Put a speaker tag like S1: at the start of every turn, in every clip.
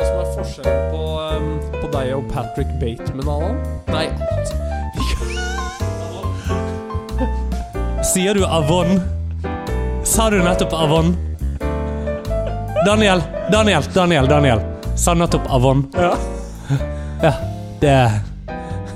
S1: forskjellen på, eh, på deg og Patrick Bateman, Alan? Nei.
S2: Sier du Avon? Sa du nettopp Avon? Daniel, Daniel, Daniel, Daniel. Sa nettopp Avon?
S1: Ja.
S2: Ja, det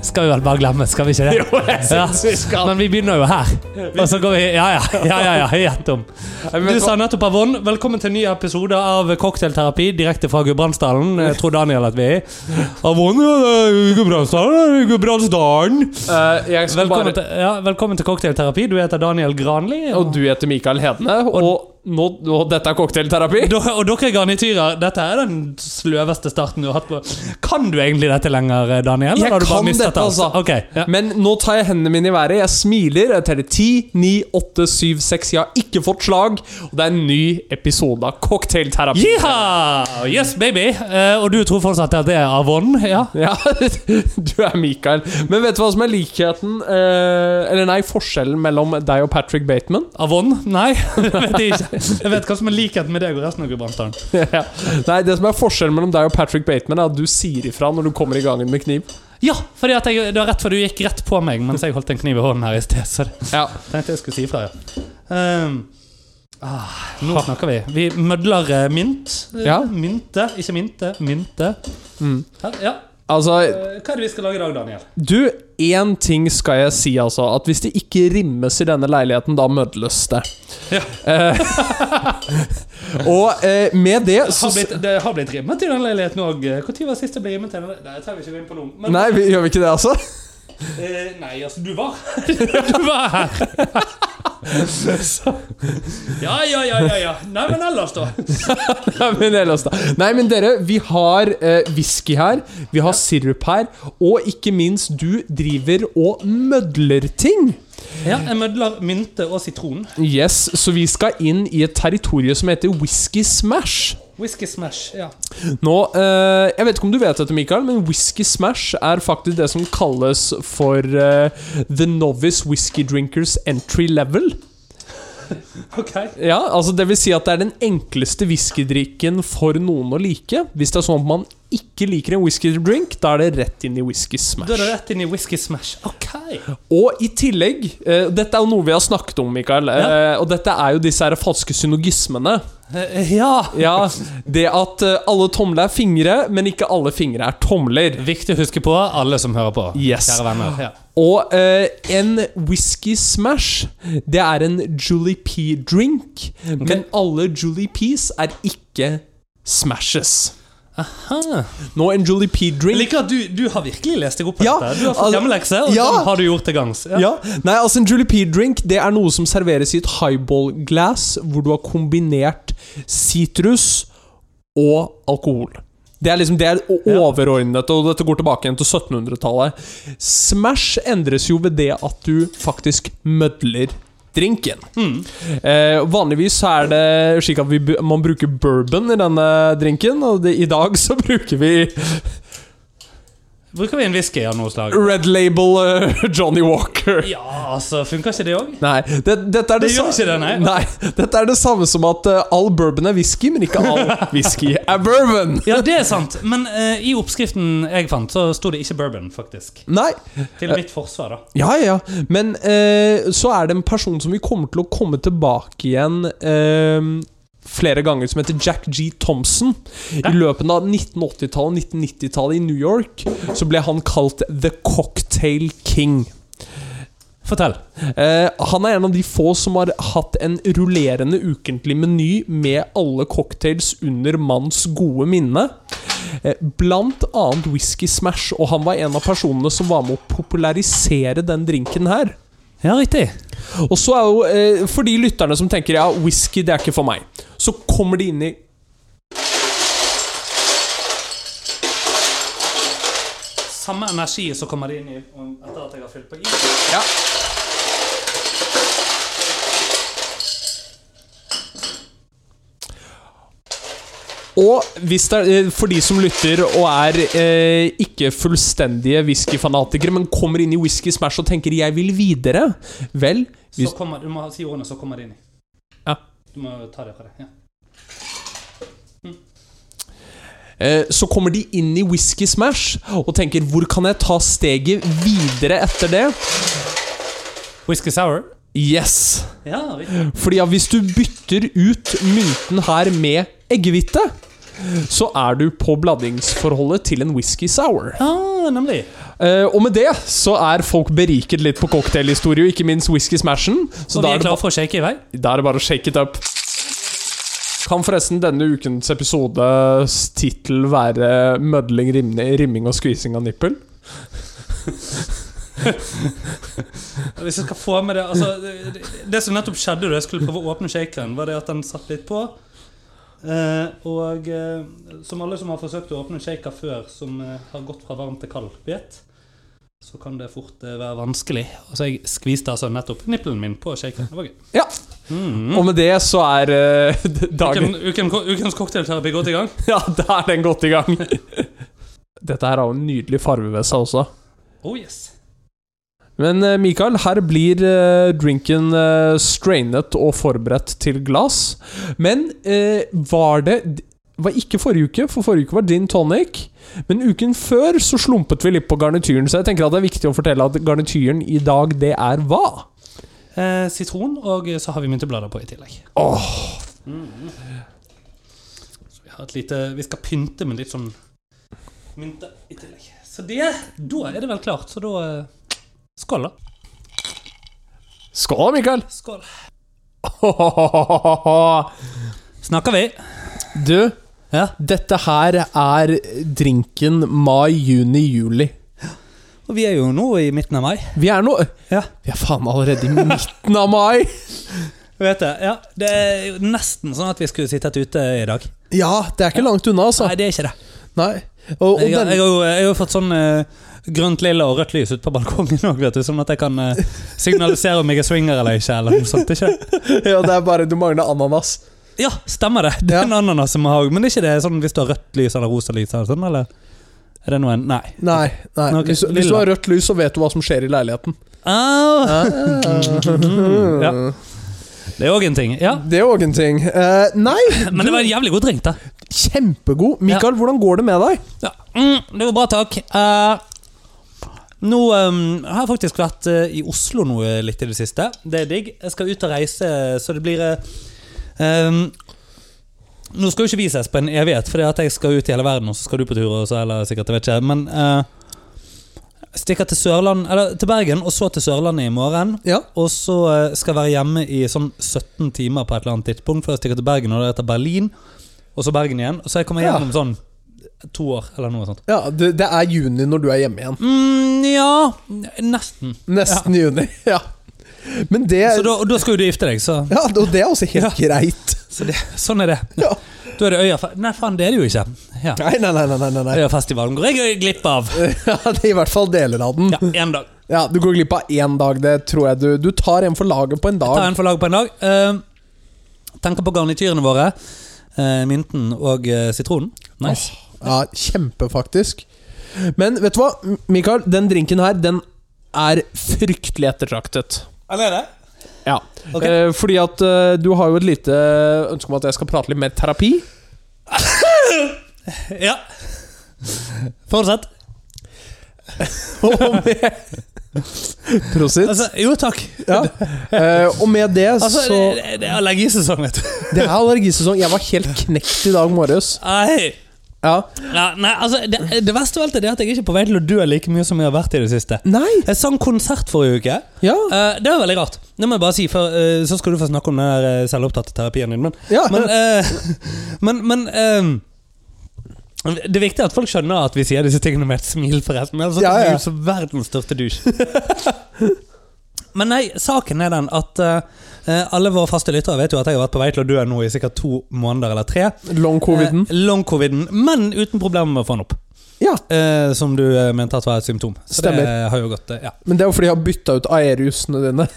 S2: skal vi vel bare glemme, skal vi ikke det?
S1: Jo, jeg synes vi skal.
S2: Men vi begynner jo her. Og så går vi Ja, ja, ja, ja, ja gjett om. Du sa nettopp Avon. Velkommen til en ny episode av Cocktailterapi direkte fra Gudbrandsdalen. Jeg tror Daniel at vi er i. Avon, ja, det er Gudbrandsdalen, Gudbrandsdalen.
S1: Eh, jeg skal
S2: Velkommen,
S1: bare
S2: til, ja, velkommen til Cocktailterapi. Du heter Daniel Granli.
S1: Og du heter Mikael Hedne, og, nå, og dette er cocktailterapi?
S2: Dere- og dere garnityrer, dette er den sløveste starten du har hatt på Kan du egentlig dette lenger, eh, Daniel?
S1: Jeg
S2: eller har du bare
S1: kan
S2: mistet
S1: dette,
S2: alt?
S1: altså.
S2: Ok, ja.
S1: Men nå tar jeg hendene mine i været. Jeg smiler. Jeg teller 10, 9, 8, 7, 6. Jeg har ikke fått slag. Og det er en ny episode av Cocktailterapi.
S2: Yeehaw! Yes, baby! Eh, og du tror fortsatt at det er Avon? Ja.
S1: Ja, du er Mikael. Men vet du hva som er likheten eh, Eller nei, forskjellen mellom deg og Patrick Bateman?
S2: Avon? Nei, det vet jeg ikke. Jeg vet hva som er likheten med deg og resten av Gudbrandsdalen.
S1: Ja. Nei, det som er forskjellen mellom deg og Patrick Bateman, er at du sier ifra når du kommer i gangen med kniv.
S2: Ja, fordi at jeg, det var rett før du gikk rett på meg mens jeg holdt en kniv i hånden her i sted. Så det
S1: Ja.
S2: tenkte jeg skulle si ifra, ja. Ehm, ah, nå snakker vi. Vi mødler eh, mynt. Eh,
S1: Ja.
S2: Mynte, ikke minte. Mynte.
S1: Mm.
S2: Her, ja.
S1: Altså,
S2: Eh, Hva er det vi skal lage i dag, Daniel?
S1: du, én ting skal jeg si, altså. At hvis det ikke rimmes i denne leiligheten, da mødles det.
S2: Ja.
S1: Eh, og eh, med det
S2: Det
S1: så
S2: har blitt, det har blitt rimmet i den leiligheten òg. Når var sist det ble rimmet i den? le- Nei, jeg trenger ikke gå inn på noen. Men,
S1: Nei, vi, gjør vi ikke det, altså?
S2: eh, nei, altså, du var Du var her. Så- Ja, ja, ja, ja, ja. Nei, men ellers, da.
S1: Nei, men ellers da. Nei, men dere, vi har eh, whisky her, vi har sirup her, og ikke minst, du driver og mødler ting.
S2: Ja, Jeg mødler mynte og sitron.
S1: Yes, så vi skal inn i et territorium som heter Whisky Smash.
S2: Whisky Smash. ja
S1: Nå, eh, Jeg vet ikke om du vet dette, Mikael, men Whisky Smash er faktisk det som kalles for eh, The Novice Whisky Drinkers Entry Level.
S2: Ok.
S1: Ja, altså Det vil si at det er den enkleste whiskydrikken for noen å like. Hvis det er sånn at man ikke liker en whiskydrink, da er det rett inn i Whisky
S2: Da er det
S1: Smash.
S2: rett inn i Whisky Smash. Ok
S1: Og i tillegg eh, Dette er jo noe vi har snakket om, Mikael. eh, og dette er jo disse her falske synogismene.
S2: Eh, Ja.
S1: Ja, Det at eh, alle tomler er fingre, men ikke alle fingre er tomler.
S2: Viktig å huske på, alle som hører på.
S1: Yes.
S2: Kjære venner. Ja.
S1: Og eh, en whisky smash, det er en Julie P-drink. Men alle Julie P's er ikke smashes.
S2: Ah.
S1: Nå en Julie
S2: Jeg
S1: P-drink
S2: liker at du, du har virkelig lest deg opp på
S1: Ja,
S2: dette. Du har fått
S1: altså-
S2: hjemmelekse, og
S1: Ja.
S2: den har du gjort til gangs.
S1: ja. Nei, altså En Julie P-drink det er noe som serveres i et highball-glass, hvor du har kombinert sitrus og alkohol. Det er liksom det er o-
S2: Ja.
S1: overordnet, og dette går tilbake igjen til 1700-tallet. Smash endres jo ved det at du faktisk mødler drinken. Eh, vanligvis så er det slik at vi, bu- man bruker bourbon i denne drinken, og det, i dag så bruker vi
S2: Bruker vi en whisky av noe slag?
S1: Red Label eh, Johnny Walker.
S2: Ja, altså, funker ikke det òg?
S1: Nei, det, dette er det,
S2: Det gjør
S1: sa-
S2: ikke det, nei.
S1: Dette er det samme som at eh, all bourbon er whisky, men ikke all whisky er bourbon.
S2: Ja, det er sant, men eh, i oppskriften jeg fant, så sto det ikke bourbon, faktisk.
S1: Nei. Eh.
S2: Til mitt forsvar, da.
S1: Ja, ja, ja. Men eh, så er det en person som vi kommer til å komme tilbake igjen eh, flere ganger, som heter Jack G. Thompson. I løpet av 1980-tallet og 1990-tallet i New York så ble han kalt The Cocktail King.
S2: Fortell.
S1: Eh, han er en av de få som har hatt en rullerende ukentlig meny med alle cocktails under manns gode minne. Eh, blant annet Whisky Smash, og han var en av personene som var med å popularisere den drinken her.
S2: Ja, riktig.
S1: Og så er jo, eh, for de lytterne som tenker ja, whisky det er ikke for meg, så kommer de inn i
S2: Samme energi som kommer det inn i om- etter at jeg har fylt på is.
S1: Ja. Og hvis det er, eh, for de som lytter og er eh, ikke fullstendige whiskyfanatikere, men kommer inn i Whisky Smash og tenker 'jeg vil videre', vel
S2: Så
S1: hvis,
S2: kommer, du må si ordene, så kommer det inn i.
S1: Ja.
S2: Du må ta det fra det. Ja.
S1: Eh, Så kommer de inn i Whisky Smash og tenker 'hvor kan jeg ta steget videre etter det'?
S2: Whisky sour?
S1: Yes!
S2: Ja,
S1: Fordi ja, hvis du bytter ut mynten her med eggehvite, så er du på blandingsforholdet til en whisky sour.
S2: ah, nemlig.
S1: Eh, og med det så er folk beriket litt på cocktailhistorie, og ikke minst whisky smashen. Så
S2: og
S1: da
S2: vi er
S1: er, det
S2: klare
S1: ba-
S2: for å shake i vei.
S1: da er det bare å shake it up. Kan forresten denne ukens episodes tittel være 'Mødling, rimne- rimming og skvising av nippel'?
S2: Hvis jeg skal få med det altså, det- det- Det som nettopp skjedde da jeg skulle prøve å åpne shakeren, var det at den satt litt på. Eh, og eh, som alle som har forsøkt å åpne en shaker før, som eh, har gått fra varm til kald, vet, så kan det fort eh, være vanskelig. Altså, jeg skviste altså nettopp nippelen min på shakeren. Det var gøy.
S1: Ja.
S2: Mm.
S1: Og med det så er eh, dagen
S2: Uken, uken, ukens cocktailterapi godt i gang.
S1: Ja, da er den godt i gang. Dette her har jo en nydelig farge ved seg også.
S2: Oh yes.
S1: Men eh, Mikael, her blir eh, drinken eh, strainet og forberedt til glass. Men eh, var det var ikke forrige uke, for forrige uke var din tonic. Men uken før så slumpet vi litt på garnityren, så jeg tenker at det er viktig å fortelle at garnityren i dag, det er hva?
S2: Eh, sitron, og så har vi mynteblader på i tillegg.
S1: Åh,
S2: Vi, har et lite, vi skal pynte med litt sånn mynte i tillegg. Så det, da er det vel klart. Så da eh, Skål, da.
S1: Skål, Mikael!
S2: Skål.
S1: Du,
S2: Snakker vi? Ja.
S1: dette her er drinken mai, juni, juli.
S2: Og vi er jo nå i midten av mai.
S1: Vi er nå
S2: Ja.
S1: Vi er faen meg allerede i midten av mai!
S2: Vet det. Ja, det er jo nesten sånn at vi skulle sittet ute i dag.
S1: Ja, det er ikke langt unna, altså.
S2: Nei, det er ikke det.
S1: Nei. Og, og
S2: Jeg, har-
S1: den,
S2: jeg, har jo- jeg har jo fått sånn eh, grønt, lilla og rødt lys ute på balkongen òg, vet du. Sånn at jeg kan eh, signalisere om jeg er swinger eller ikke. Eller noe sånt, ikke?
S1: ja, det er bare du mangler ananas.
S2: Ja, stemmer det. Det er
S1: Ja.
S2: en ananas som har Men er ikke det sånn hvis du har rødt lys eller rosa lys eller sånn, eller? Er det noe en Nei.
S1: Nei. nei.
S2: Ok,
S1: hvis, hvis du
S2: lilla.
S1: har rødt lys, så vet du hva som skjer i leiligheten.
S2: Ah, Ja. det er òg en ting. Ja.
S1: Det er òg en ting. Eh, nei,
S2: Men det var en jævlig god drink, da.
S1: kjempegod. Mikael, hvordan går det med deg?
S2: Ja. Mm, det var bra, takk. Eh, nå eh, har jeg faktisk vært eh, i Oslo nå eh, litt i det siste. Det er digg. Jeg skal ut og reise, så det blir eh, eh, Nå skal jo ikke vi ses på en evighet, for at jeg skal ut i hele verden, og så skal du på tur. Og så, eller sikkert, jeg vet ikke Men eh, stikker til Sørland Eller til Bergen, og så til Sørlandet i morgen.
S1: Ja.
S2: Og så eh, skal jeg være hjemme i sånn 17 timer på et eller annet tidspunkt før jeg stikker til Bergen, og deretter Berlin, og så Bergen igjen. Så jeg kommer
S1: Ja.
S2: hjem om sånn to år, eller noe sånt.
S1: ja det, det er juni når du er hjemme igjen.
S2: Mm, ja, nesten.
S1: Nesten juni. Ja. Men det
S2: Så da, og da skal jo du gifte deg, så,
S1: Ja, og det er også helt
S2: Ja.
S1: greit.
S2: så det, sånn er det.
S1: Ja.
S2: Da er det Øyafest Nei, faen, det er det jo ikke. Ja.
S1: Nei, nei, nei. nei, nei, nei, nei.
S2: Øyafestivalen går jeg glipp av.
S1: Ja, det er I hvert fall deler av den.
S2: Ja, en dag.
S1: Ja, Du går glipp av én dag, det tror jeg du Du tar en for laget på en dag.
S2: Ta en for laget på en dag. Eh, tenker på garnityrene våre. Eh, mynten og eh, sitronen. Nice.
S1: Ja, kjempe faktisk Men vet du hva, M- Mikael, den drinken her Den er fryktelig ettertraktet
S2: Eller er det?
S1: Ja
S2: Ok.
S1: eh, Fordi at eh, du har jo et lite eh, ønske om at jeg skal prate litt mer terapi
S2: Ja. Fortsett.
S1: Og med Prosit
S2: Altså, jo, takk.
S1: ja. eh, Og med det
S2: Altså,
S1: så
S2: det, det, det er allergisesong, vet du.
S1: Det er allergisesong Jeg var helt knekt i dag morges
S2: Nei.
S1: ja.
S2: Nei, nei, altså, det, det verste av alt er det at jeg er ikke på vei til å dø like mye som jeg har vært i det siste.
S1: Nei
S2: Jeg sang konsert forrige uke.
S1: Ja,
S2: Eh, det var veldig rart. Det må jeg bare si, for eh, så skal du få snakke om den der eh, selvopptatte terapien din. Men,
S1: ja.
S2: men, eh, men, men eh, Det er viktig at folk skjønner at vi sier disse tingene med et smil, forresten. Ellers
S1: Ja, ja.
S2: er vi jo så verdens største douche. Men nei, saken er den at eh, alle våre faste lyttere vet jo at jeg har vært på vei til å dø nå i sikkert to måneder eller tre.
S1: long coviden
S2: Eh, Long-coviden, men uten problemer med å få den opp.
S1: Ja.
S2: eh, som du eh, mente at var et symptom. Så
S1: Stemmer.
S2: det har jo gått, eh, ja.
S1: Men det er jo fordi jeg har bytta ut aeriusene dine.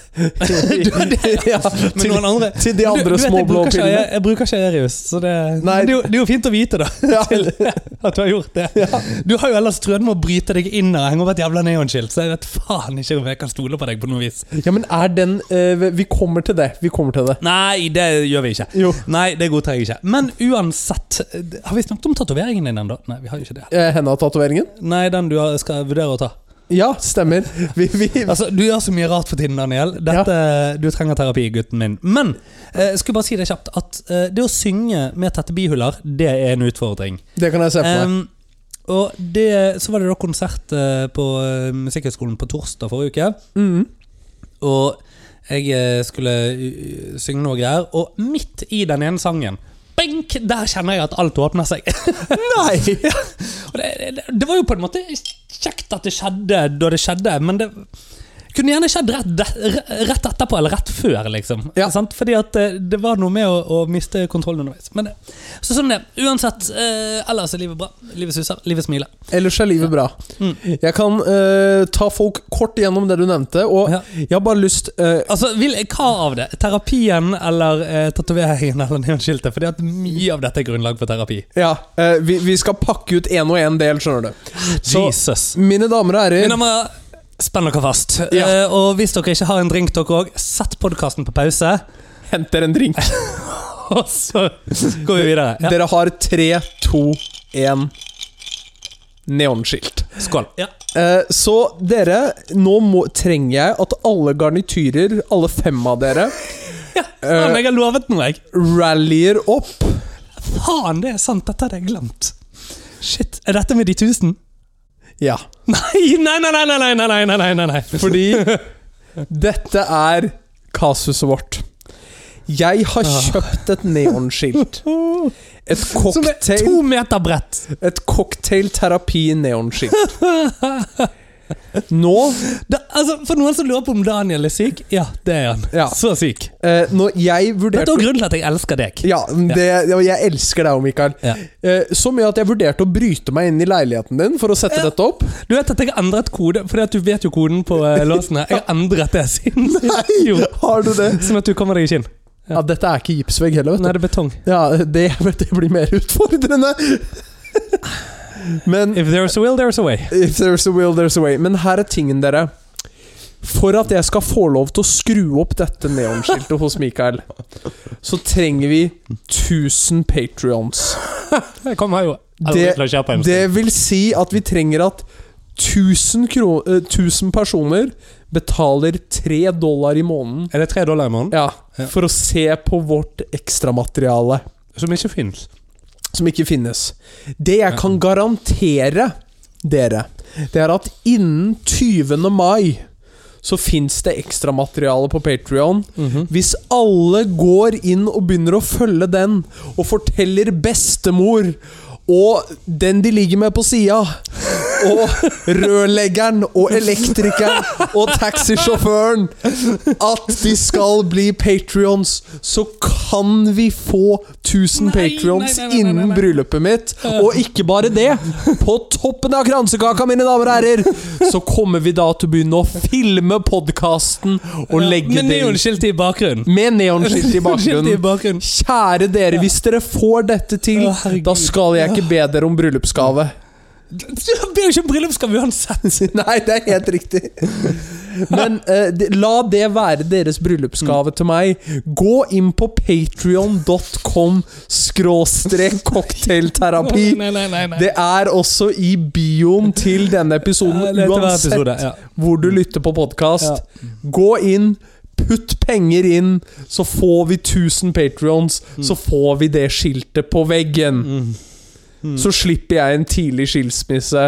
S1: ja,
S2: Men
S1: til,
S2: noen andre
S1: til de
S2: Du- du
S1: andre
S2: vet, jeg
S1: små blå
S2: bruker ikke-
S1: pillene.
S2: Jeg, jeg bruker ikke Erius, så det,
S1: Nei.
S2: det, er jo, det er jo fint å vite, da.
S1: Ja.
S2: Til, at du har gjort det. Du har jo ellers trødd med å bryte deg inn og henge opp et jævla neonskilt, så jeg vet faen ikke om jeg kan stole på deg på noe vis.
S1: Ja, men er den eh, Vi kommer til det. Vi kommer til det.
S2: Nei, det gjør vi ikke.
S1: Jo.
S2: Nei, det godtar jeg ikke. Men uansett, har vi snakket om tatoveringen din ennå? Nei, vi har jo ikke det.
S1: Eh, Henda-tatoveringen?
S2: Nei, den du har- skal vurdere å ta.
S1: Ja, stemmer. Vi, vi,
S2: Altså, Du gjør så mye rart for tiden, Daniel. Dette, Du trenger terapi, gutten min. Men eh, jeg skulle bare si det kjapt at eh, det å synge med tette bihuler, det er en utfordring.
S1: det kan jeg se for meg.
S2: Em, Ehm, og det, så var det da konsert eh, på eh, Musikkhøgskolen på torsdag forrige uke.
S1: Mhm.
S2: Og jeg eh, skulle eh, synge noe greier, og midt i den ene sangen Benk! Der kjenner jeg at alt åpner seg.
S1: Nei!
S2: Og det, det, det var jo på en måte kjekt at det skjedde da det skjedde, men det kunne gjerne skjedd rett, de- rett etterpå eller rett før, liksom.
S1: Ja.
S2: Sant? Fordi at eh, det var noe med å, å miste kontrollen underveis. Men det, så sånn det. Uansett, eh, ellers er livet bra. Livet suser, livet smiler.
S1: Ellers er livet bra. Jeg kan eh, ta folk kort gjennom det du nevnte, og
S2: Ja.
S1: jeg har bare lyst eh,
S2: Altså, vil, Hva av det? Terapien eller eh, tatoveringen eller neonskiltet? Fordi at mye av dette er grunnlag for terapi.
S1: Ja, eh, vi, vi skal pakke ut én og én del, skjønner du. Så-
S2: Jesus.
S1: Mine damer og herrer
S2: Mine damer, spenn dere fast.
S1: Ja.
S2: Eh, og hvis dere ikke har en drink, dere òg, sett podkasten på pause,
S1: henter en drink.
S2: og så går vi videre. Ja.
S1: Dere har tre, to, én neonskilt.
S2: Skål. Ja.
S1: Eh, så dere, nå må, trenger jeg at alle garnityrer, alle fem av dere,
S2: Faen, jeg har lovet noe, jeg.
S1: rallyer opp.
S2: Faen, det er sant. Dette hadde jeg glemt. Shit. Er dette med de tusen?
S1: Ja.
S2: Nei, nei, nei, nei, nei, nei, nei, nei, nei, nei.
S1: Fordi dette er kasuset vårt. Jeg har kjøpt et neonskilt. Et
S2: Ah. Som er
S1: cocktail
S2: to meter bredt.
S1: Et cocktailterapi-neonskilt. Nå,
S2: Da, altså, for noen som lurer på om Daniel er syk, ja, det er han.
S1: Ja.
S2: Så syk.
S1: eh, når jeg
S2: Dette er
S1: vurderte
S2: også grunnen til at jeg elsker deg.
S1: ja, det, og jeg elsker deg òg, Mikael.
S2: Ja.
S1: Eh, så mye at jeg vurderte å bryte meg inn i leiligheten din for å sette
S2: Ja.
S1: dette opp.
S2: Du vet at jeg har endret kode, fordi at du vet jo koden på eh, låsen her. Jeg har endret det siden. Jo.
S1: Har du det?
S2: Sånn at du kommer deg ikke inn.
S1: Ja, Dette er ikke gipsvegg heller,
S2: Nei,
S1: vet du.
S2: det er betong.
S1: Ja, det, det blir mer utfordrende. Men
S2: If there's a will, there's a way.
S1: If there's a will, there's a way. Men her er tingen, dere. For at jeg skal få lov til å skru opp dette neonskiltet hos Mikael, så trenger vi 1000 patrions.
S2: Jeg kommer jo aldri
S1: Det-
S2: til å kjøpe en.
S1: Det vil si at vi trenger at 1000, kro eh, 1000 personer betaler 3 dollar i måneden
S2: Er det tre dollar i måneden?
S1: ja,
S2: Ja.
S1: for å se på vårt ekstramateriale,
S2: Som ikke finnes.
S1: som ikke finnes. Det jeg kan garantere dere, det er at innen 20. mai så fins det ekstramateriale på Patrion. Hvis alle går inn og begynner å følge den, og forteller bestemor og den de ligger med på sida, og rørleggeren og elektrikeren og taxisjåføren at de skal bli patrions, så kan vi få 1000
S2: Nei,
S1: patrions
S2: nei, nei, nei, nei,
S1: innen
S2: nei.
S1: bryllupet mitt. Og ikke bare det. På toppen av kransekaka, mine damer og herrer, så kommer vi da til å begynne å filme podkasten og legge
S2: Men
S1: det inn
S2: neonskiltet i bakgrunnen.
S1: med neonskilt i
S2: Skiltet i
S1: bakgrunnen.
S2: bakgrunnen.
S1: Kjære dere, hvis dere får dette til,
S2: Å, herregud.
S1: da skal jeg ikke be dere om bryllupsgave.
S2: Det blir jo ikke bryllupsgave uansett.
S1: Nei, det er helt riktig. Men eh, de, la det være deres bryllupsgave til meg. Gå inn på patrion.com skråstrek cocktailterapi.
S2: Nei, nei, nei, nei.
S1: Det er også i bioen til denne
S2: Ja,
S1: episoden,
S2: det er til hver
S1: uansett
S2: episode, ja.
S1: hvor du lytter på podkast. Gå inn, putt penger inn, så får vi 1000 patrions.
S2: Mm.
S1: Så får vi det skiltet på veggen.
S2: Mm.
S1: Så slipper jeg en tidlig skilsmisse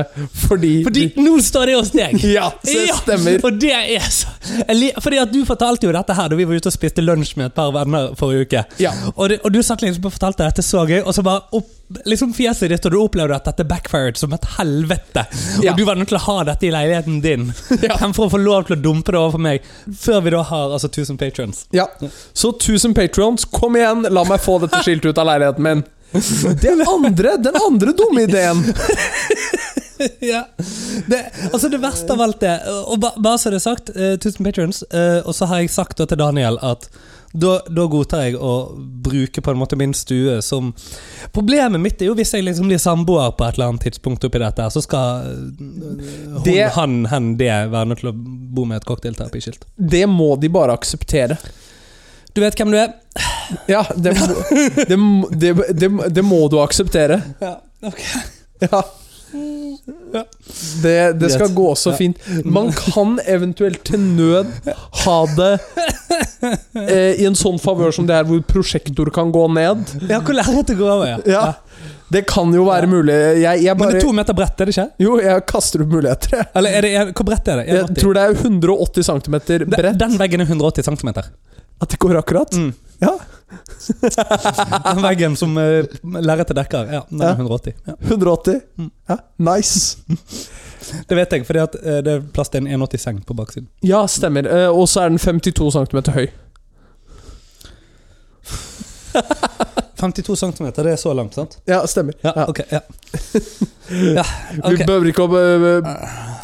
S1: fordi,
S2: Fordi nå står det hos deg.
S1: Ja, så det
S2: Ja,
S1: stemmer.
S2: Og det er så jeg li- Fordi at du fortalte jo dette her da vi var ute og spiste lunsj med et par venner forrige uke.
S1: Ja.
S2: Og, det, og du satt liksom og fortalte dette så gøy, og så bare opp, liksom fjeset ditt, og du opplevde at dette backfired som et helvete.
S1: Ja.
S2: Og du var nødt til å ha dette i leiligheten din fremfor å få lov til å dumpe det overfor meg, før vi da har altså 1000 patrons.
S1: Ja. Så 1000 patrions, kom igjen, la meg få dette skiltet ut av leiligheten min. Den andre, den andre dumme ideen.
S2: ja. det, altså det verste av alt det Og ba, bare så det er sagt, eh, 1000 patrons, eh, og så har jeg sagt da til Daniel at da, da godtar jeg å bruke på en måte min stue som Problemet mitt er jo hvis jeg liksom blir samboer på et eller annet tidspunkt oppi dette, her, så skal eh, hun,
S1: Det-
S2: han, hen, det være nødt til å bo med et cocktailterapiskilt.
S1: Det må de bare akseptere.
S2: Du vet hvem du er?
S1: Ja, det, må- det, må- det, det, det må du akseptere.
S2: Ja, ok
S1: Ja.
S2: Ja.
S1: Det, det skal
S2: Greit.
S1: gå så
S2: Ja.
S1: fint. Man kan eventuelt til nød ha det eh, i en sånn favør som det her, hvor prosjektor kan gå ned.
S2: Ja, hvor lærete går over, ja.
S1: Ja. Det kan jo være mulig. Jeg, jeg
S2: Men det
S1: bare
S2: er to meter bredt, er det ikke?
S1: Jo, jeg kaster opp muligheter, jeg.
S2: Eller er det, er, hvor bredt er det?
S1: Jeg
S2: 1,80?
S1: tror det er 180 cm
S2: Den,
S1: bredt.
S2: den veggen er 180 cm.
S1: At det går akkurat?
S2: Mm.
S1: Ja.
S2: Den veggen som uh, lerretet dekker. Ja, den
S1: Ja.
S2: er 180. Ja.
S1: 180.
S2: Mm.
S1: Ja, nice.
S2: Det vet jeg, fordi at eh, det er plass til en 180-seng på baksiden.
S1: Ja, stemmer. Eh, Og så er den 52 cm høy.
S2: 52 cm, det er så langt, sant?
S1: Ja, stemmer.
S2: Ja,
S1: Ja.
S2: ok. Ja. ja, ok.
S1: Vi behøver ikke å eh,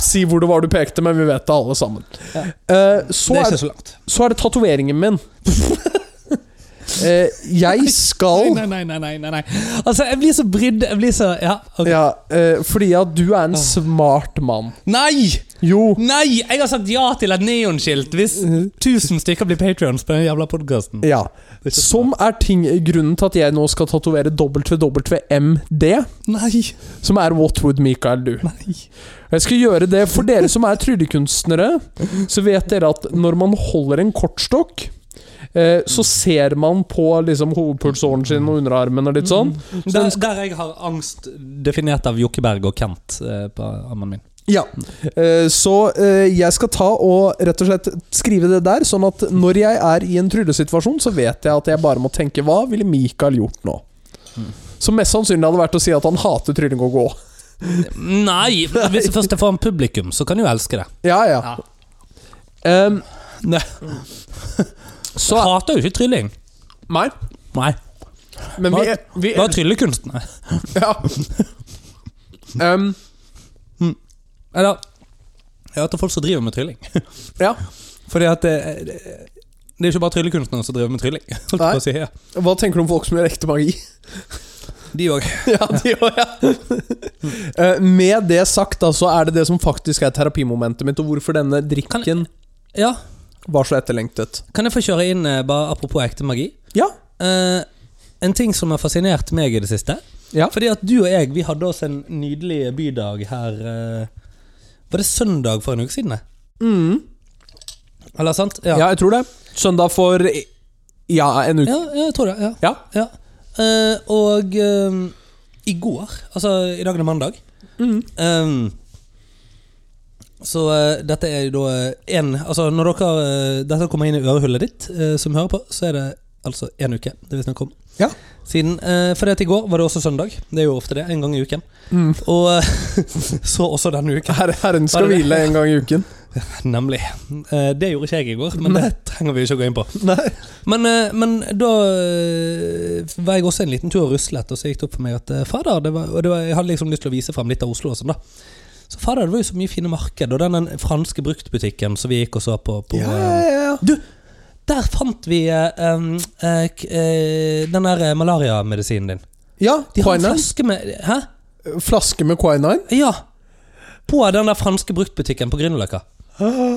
S1: si hvor det var du pekte, men vi vet det alle sammen.
S2: Ja.
S1: Eh,
S2: Det
S1: så,
S2: er
S1: er,
S2: ikke så langt.
S1: så er det tatoveringen min. Eh, jeg skal
S2: Nei, nei, nei, nei, nei, nei. Altså, jeg blir så brydd. Jeg blir så Ja. ok.
S1: ja, eh, Fordi at du er en
S2: Ah.
S1: smart mann.
S2: Nei!
S1: Jo.
S2: Nei! Jeg har sagt ja til et neonskilt hvis 1000 stykker blir patrions på den jævla podkasten.
S1: Ja. Som er ting, grunnen til at jeg nå skal tatovere WWMD,
S2: Nei!
S1: som er What Would Michael Do.
S2: Nei.
S1: Jeg skal gjøre det for dere som er tryllekunstnere. Så vet dere at når man holder en kortstokk, eh, så ser man på liksom, hovedpulsåren sin og underarmen og litt sånn. Så
S2: Der,
S1: den,
S2: der jeg har angst definert av Jokkeberg og Kent eh, på armen min.
S1: ja. eh, så eh, jeg skal ta og rett og slett skrive det der, sånn at når jeg er i en tryllesituasjon, så vet jeg at jeg bare må tenke Hva ville Mikael gjort nå? Mm. Som mest sannsynlig hadde vært å si at han hater trylling og gå.
S2: Nei! Hvis jeg først er foran publikum, så kan jeg jo elske det.
S1: Ja, ja.
S2: Ja.
S1: Em,
S2: Nei.
S1: så
S2: Hater jo ikke trylling.
S1: Nei.
S2: Nei.
S1: Men vi, vi
S2: Bare tryllekunst. Nei.
S1: Ja. Ehm, Em,
S2: Eller Jeg hater folk som driver med trylling.
S1: ja.
S2: Fordi at eh, det, det er ikke bare tryllekunstnere som driver med trylling. Holdt jeg
S1: Nei.
S2: på å si, ja.
S1: Hva tenker du om folk som gjør ekte magi?
S2: De òg.
S1: ja, de òg, ja. Eh, Med det sagt, da, så er det det som faktisk er terapimomentet mitt, og hvorfor denne drikken
S2: Ja.
S1: var så etterlengtet.
S2: Kan jeg få kjøre inn, eh, bare apropos ekte magi?
S1: Ja.
S2: Eh, en ting som har fascinert meg i det siste.
S1: Ja.
S2: Fordi at du og jeg vi hadde oss en nydelig bydag her eh, Var det søndag for en uke siden? det? Mm. Eller sant?
S1: ja. jeg tror det. Søndag for ja, en uke.
S2: Ja, ja, jeg tror det. Ja.
S1: Ja.
S2: ja. Eh, og eh, i går, altså i dag er det mandag
S1: Mm.
S2: eh, Så eh, dette er jo da én Altså når dere eh, dette kommer inn i ørehullet ditt, eh, som hører på, så er det altså én uke det vi snakker om.
S1: Ja.
S2: Siden, eh, for det at i går var det også søndag. Det er jo ofte det. En gang i uken.
S1: Mm.
S2: Og eh, så også denne uken.
S1: Her, herren skal
S2: Var det det?
S1: hvile en gang i uken.
S2: Nemlig. Eh, Det gjorde ikke jeg i går, men det trenger vi ikke å gå inn på.
S1: Nei.
S2: Men, eh, men da eh, var jeg også en liten tur og ruslet, og så gikk det opp for meg at eh, fader, det var, og det var, jeg hadde liksom lyst til å vise fram litt av Oslo og sånn, da. Så fader, det var jo så mye fine marked, og den, den franske bruktbutikken som vi gikk og så på, på
S1: Ja,
S2: eh,
S1: ja, ja.
S2: Der fant vi eh, em, eh, k- eh, den der eh, malariamedisinen din.
S1: ja
S2: De har en
S1: quinine.
S2: flaske med Hæ?
S1: Flaske med quinine.
S2: Ja. På den der franske bruktbutikken på Grünerløkka.
S1: Ja.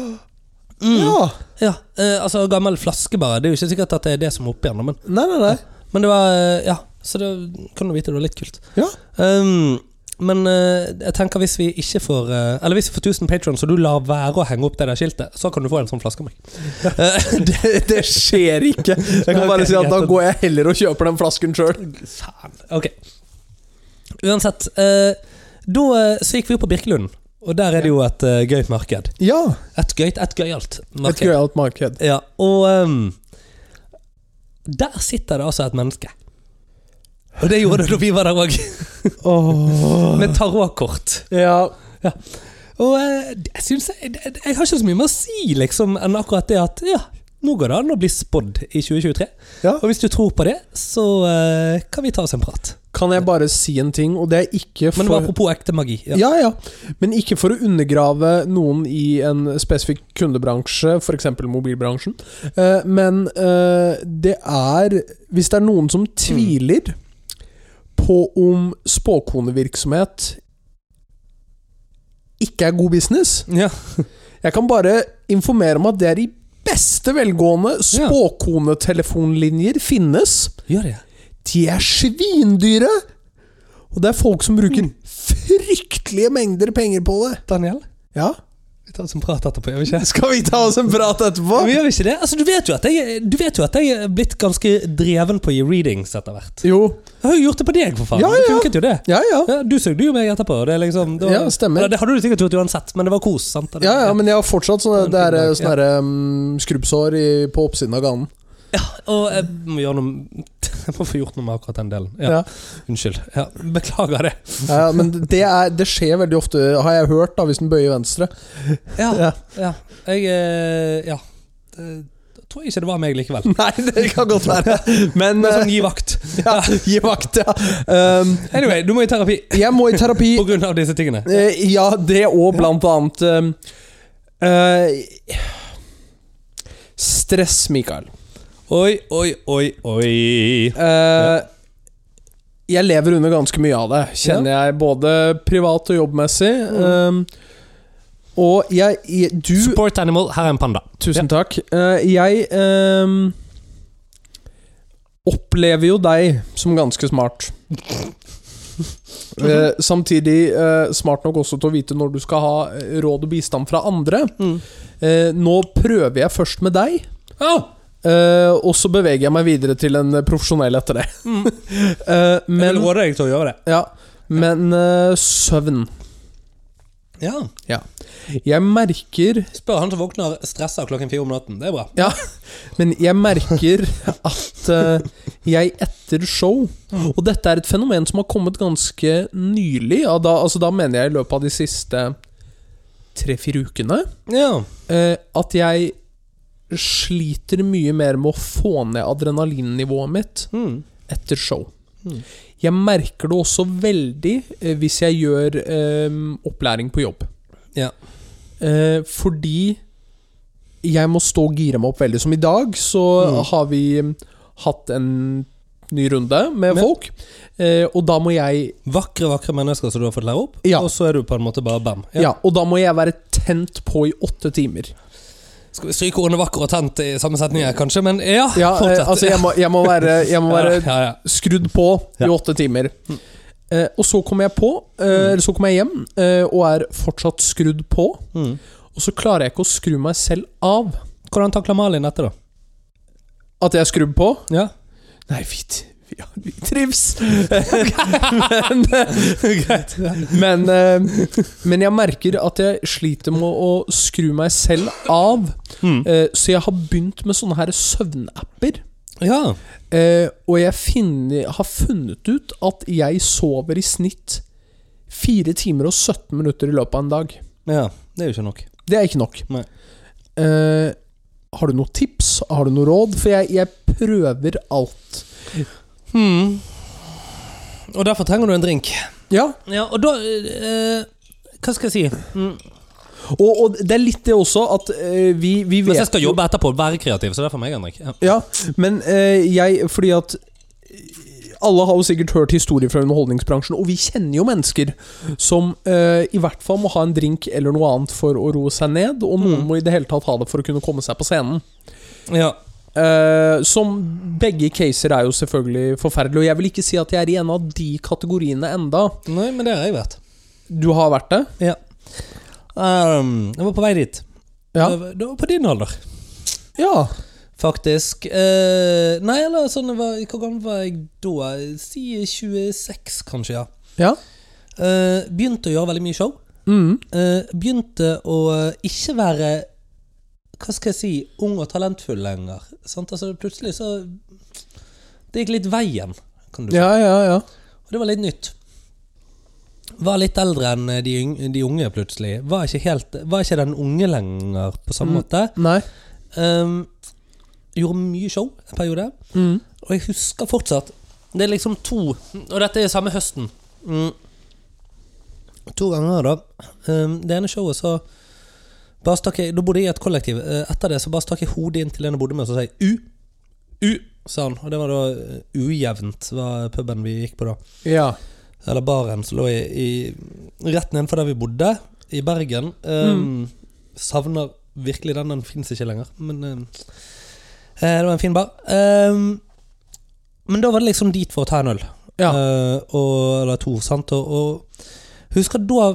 S2: Ja, eh, altså gammel flaske bare. Det er jo ikke sikkert at det er det som er oppi den, men,
S1: Nei, nei, nei.
S2: men det var eh, Ja, så det kan du vite, det var litt kult.
S1: Ja.
S2: Um, men eh, jeg tenker hvis vi ikke får eh, Eller hvis vi får 1000 patrons, og du lar være å henge opp det der skiltet, så kan du få en sånn flaske av meg. Eh,
S1: Det, det skjer ikke. Jeg kan bare
S2: Ok,
S1: si at da
S2: greit.
S1: går jeg heller og kjøper den flasken sjøl.
S2: Faen. Ok. Uansett. eh, da eh, så gikk vi opp på Birkelund, og der er det jo et eh, gøyt marked.
S1: Ja.
S2: Et gøyt, et gøyalt
S1: Et
S2: marked.
S1: gøyalt marked.
S2: Ja, og ehm, Der sitter det altså et menneske. Og det gjorde det da vi var der òg,
S1: Åh.
S2: med tarotkort.
S1: Ja.
S2: Og eh, jeg, synes jeg, jeg, jeg har ikke så mye mer å si liksom, enn akkurat det at ja, Nå går det an å bli spådd i 2023.
S1: Ja.
S2: Og hvis du tror på det, så eh, kan vi ta oss en prat.
S1: Kan jeg bare si en ting, og det er ikke for
S2: Men det var apropos ekte magi. Ja.
S1: Ja, ja. Men ikke for å undergrave noen i en spesifikk kundebransje, f.eks. mobilbransjen. Eh, Men eh, det er Hvis det er noen som tviler på om spåkonevirksomhet ikke er god business
S2: Ja.
S1: Jeg kan bare informere om at det er i beste velgående.
S2: Ja.
S1: Spåkonetelefonlinjer finnes.
S2: Gjør det.
S1: De er svindyre! Og det er folk som bruker fryktelige mengder penger på det.
S2: Daniel,
S1: Ja.
S2: vi tar oss en prat etterpå, gjør vi ikke?
S1: Skal vi ta oss en prat etterpå?
S2: Men gjør vi ikke det? Altså, du, vet jo at jeg, du vet jo at jeg er blitt ganske dreven på å gi readings etter hvert.
S1: Jo.
S2: Jeg har jo gjort det på deg, for faen.
S1: Ja,
S2: Det
S1: ja.
S2: funket jo det.
S1: Ja, ja.
S2: Ja, du søkte jo meg etterpå. Det er liksom, det
S1: Ja, stemmer.
S2: Eller, Det hadde du sikkert gjort uansett, men det var kos. sant? Det-
S1: Ja, ja, Men jeg har fortsatt sånne, det er, eh,
S2: Ja.
S1: sånne der, mm, skrubbsår i, på oppsiden av ganen.
S2: Og jeg må gjøre noe Jeg må få gjort noe med akkurat den delen. Ja.
S1: Ja.
S2: Unnskyld. Ja, beklager det.
S1: Ja, ja, men det, er, det skjer veldig ofte, har jeg hørt, da, hvis den bøyer venstre.
S2: Ja,
S1: Ja.
S2: ja. Jeg eh, Ja. Det, jeg tror ikke det var meg likevel.
S1: Nei, det kan godt være. Men
S2: Men sånn
S1: eh,
S2: gi vakt.
S1: ja, gi vakt, ja. Um,
S2: Anyway, du må i terapi
S1: jeg må i terapi.
S2: på grunn av disse tingene.
S1: Eh, ja, det og blant annet eh, eh, Stress, Mikael.
S2: Oi, oi, oi, oi.
S1: Eh, Jeg lever under ganske mye av det, kjenner jeg, både privat og jobbmessig. Eh, og jeg, jeg Du
S2: Support animal, her er en panda.
S1: Tusen takk. Eh, jeg ehm, opplever jo deg som ganske smart. Eh, samtidig eh, smart nok også til å vite når du skal ha eh, råd og bistand fra andre.
S2: Mm.
S1: Eh, nå prøver jeg først med deg,
S2: Å,
S1: eh, og så beveger jeg meg videre til en eh, profesjonell etter det.
S2: Mm.
S1: Eh,
S2: jeg vil
S1: men
S2: råde deg til å gjøre det.
S1: ja, men eh, søvn
S2: Ja.
S1: Jeg merker
S2: Spør han som våkner stressa klokken fire om natten. Det er bra.
S1: Ja, men jeg merker at eh, jeg etter show Og dette er et fenomen som har kommet ganske nylig. Ja, da, altså, da mener jeg i løpet av de siste tre-fire ukene.
S2: Ja.
S1: eh, at jeg sliter mye mer med å få ned adrenalinnivået mitt
S2: Mm.
S1: etter show.
S2: Mm.
S1: Jeg merker det også veldig eh, hvis jeg gjør eh, opplæring på jobb.
S2: Ja.
S1: Eh, fordi jeg må stå og gire meg opp veldig. Som i dag så
S2: Mm.
S1: har vi eh, hatt en ny runde med
S2: Ja.
S1: folk. Eh, og da må jeg
S2: Vakre, vakre mennesker som du har fått lære opp,
S1: Ja.
S2: og så er du på en måte bare bam.
S1: ja. og da må jeg være tent på i åtte timer.
S2: Skal vi stryke ordene vakker og tent i samme setning her, kanskje? Men ja,
S1: Ja, eh,
S2: fortsett.
S1: altså jeg må, jeg må være, jeg må være
S2: ja, ja,
S1: skrudd på i
S2: Ja. Mm.
S1: åtte timer. Eh, og så kommer jeg på eh, Eller så kommer jeg hjem eh, og er fortsatt skrudd på.
S2: ja. Mm.
S1: Og så klarer jeg ikke å skru meg selv av
S2: Hvordan takler Malin dette, da?
S1: at jeg er skrudd på.
S2: Ja.
S1: Nei, vi, vi, vi trives. men
S2: Greit.
S1: men, eh, men jeg merker at jeg sliter med å skru meg selv av.
S2: Mm.
S1: Eh, Så jeg har begynt med sånne her søvnapper.
S2: Ja.
S1: Eh, Og jeg finner, har funnet ut at jeg sover i snitt 4 timer og 17 minutter i løpet av en dag.
S2: ja. Det er jo ikke nok.
S1: Det er ikke nok.
S2: Nei.
S1: Eh, har du noe tips? Har du noe råd? For jeg, jeg prøver alt.
S2: Hmm. Og derfor trenger du en drink.
S1: Ja,
S2: Ja, og da eh, Hva skal jeg si?
S1: Og, og det er litt det også at eh, vi, vi vet
S2: Hvis jeg skal
S1: jo-
S2: jobbe etterpå, være kreativ, så derfor må jeg ha en drink. Ja.
S1: Ja, men eh, jeg Fordi at eh, alle har jo sikkert hørt historier fra underholdningsbransjen, og vi kjenner jo mennesker som eh, i hvert fall må ha en drink eller noe annet for å roe seg ned, og noen
S2: Mm.
S1: må i det hele tatt ha det for å kunne komme seg på scenen.
S2: Ja.
S1: Eh, som begge caser er jo selvfølgelig forferdelige, og jeg vil ikke si at jeg er i en av de kategoriene enda.
S2: Nei, men det har jeg vært.
S1: Du har vært det?
S2: Ja. Ehm, jeg var på vei dit.
S1: Ja.
S2: Det var- Det var på din alder.
S1: Ja.
S2: Faktisk. Eh, nei, eller sånn det var, Hvor gammel var jeg da? Si 26, kanskje. ja
S1: Ja.
S2: Eh, Begynte å gjøre veldig mye show.
S1: Mm.
S2: Eh, begynte å ikke være Hva skal jeg si ung og talentfull lenger. Sant? Altså Plutselig så Det gikk litt veien, kan du si.
S1: ja, ja, ja.
S2: Og det var litt nytt. Var litt eldre enn de, yng- de unge, plutselig. Var ikke, helt, var ikke den unge lenger, på samme måte.
S1: Nei.
S2: Ehm, gjorde mye show en periode.
S1: Mm.
S2: Og jeg husker fortsatt Det er liksom to Og dette er samme høsten. Mm. To ganger, da. Um, det ene showet, så bare stakk jeg, Da bodde jeg i et kollektiv. Eh, Etter det så bare stakk jeg hodet inn til en jeg bodde med, og så sa jeg U. U, sa han. Og det var da eh, ujevnt, var puben vi gikk på da.
S1: Ja.
S2: Eller baren som lå i, i rett nedenfor der vi bodde, i Bergen. Um, Savner virkelig den. Den fins ikke lenger, men um, eh, Det var en fin bar. Um, men da var det liksom dit for å ta en øl.
S1: Ja.
S2: Eh, og, eller to, sant. Og, og husker da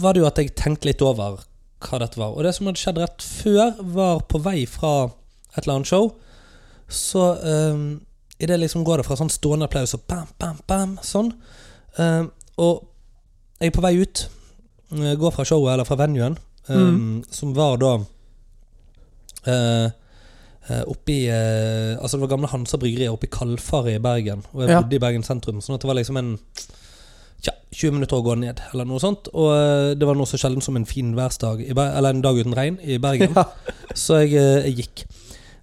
S2: var det jo at jeg tenkte litt over hva dette var. Og det som hadde skjedd rett før, var på vei fra et eller annet show. Så um, i det liksom går det fra sånn stående applaus og bam, bam, bam, sånn. Eh, og jeg er på vei ut. eh, går fra showet, eller fra venuen, eh,
S1: Mm.
S2: som var da eh, eh, Oppi eh, Altså, det var gamle Hansa Bryggeri oppe i Kalfaret i Bergen. Og jeg
S1: Ja.
S2: bodde i Bergen sentrum, sånn at det var liksom en Tja, 20 minutter å gå ned, eller noe sånt. Og eh, det var noe så sjelden som en fin værsdag, i Ber eller en dag uten regn, i Bergen.
S1: Ja.
S2: Så jeg, eh, jeg gikk.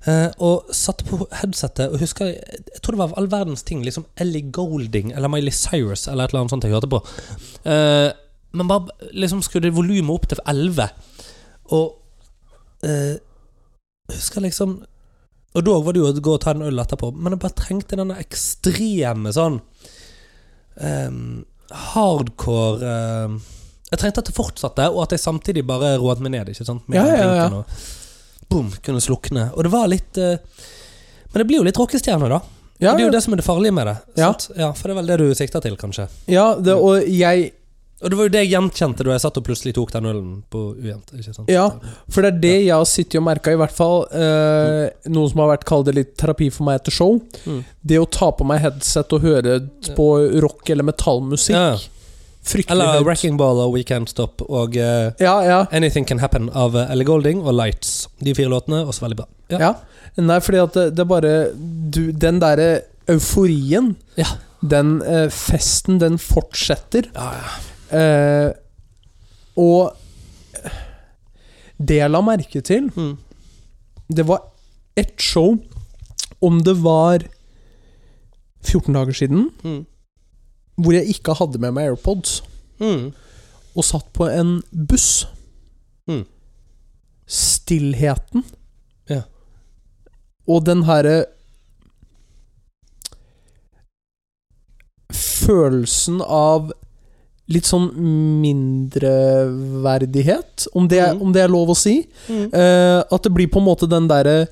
S2: Eh, og satte på headsetet og husker Jeg, jeg tror det var all verdens ting. Liksom Ellie Golding eller Miley Cyrus eller et eller annet sånt jeg hørte på. Eh, men bare liksom skrudde volumet opp til 11. Og eh, husker liksom Og da var det jo å gå og ta en øl etterpå, men jeg bare trengte denne ekstreme sånn eh, hardcore eh, Jeg trengte at det fortsatte, og at jeg samtidig bare roet meg ned. Ikke sant?
S1: Ja,
S2: den
S1: ja, ja.
S2: drinken Og, boom, kunne slukne. Og det var litt eh, Men det blir jo litt rockestjerne, da.
S1: Ja,
S2: det er jo
S1: ja.
S2: det som er det farlige med det.
S1: Ja.
S2: Sant? Ja, For det er vel det du sikter til, kanskje.
S1: ja det, og jeg
S2: Og det var jo det jeg gjenkjente da jeg satt og plutselig tok den ølen på ujevnt. ikke sant?
S1: Ja, for det er det jeg har sittet og merka, i hvert fall eh, noe som har vært kalt det litt terapi for meg etter show.
S2: Mm.
S1: Det å ta på meg headset og høre på rock eller metallmusikk
S2: Ja.
S1: Fryktelig
S2: Eller
S1: høyt.
S2: Wrecking Ball og We Can't Stop og eh,
S1: Ja, ja.
S2: Anything Can Happen av eh, Ellie Golding og Lights. De fire låtene, også veldig bra. Ja.
S1: Ja. Nei, fordi at det, det er bare du, Den derre euforien,
S2: Ja.
S1: den eh, festen, den fortsetter.
S2: Ja,
S1: Eh, og det jeg la merke til,
S2: Mm.
S1: det var ett show Om det var 14 dager siden,
S2: Mm.
S1: hvor jeg ikke hadde med meg AirPods,
S2: Mm.
S1: og satt på en buss.
S2: Mm.
S1: Stillheten.
S2: Ja.
S1: Og den herre Følelsen av litt sånn mindreverdighet, om det, er-
S2: Mm.
S1: om det er lov å si.
S2: Mm.
S1: Eh, at det blir på en måte den derre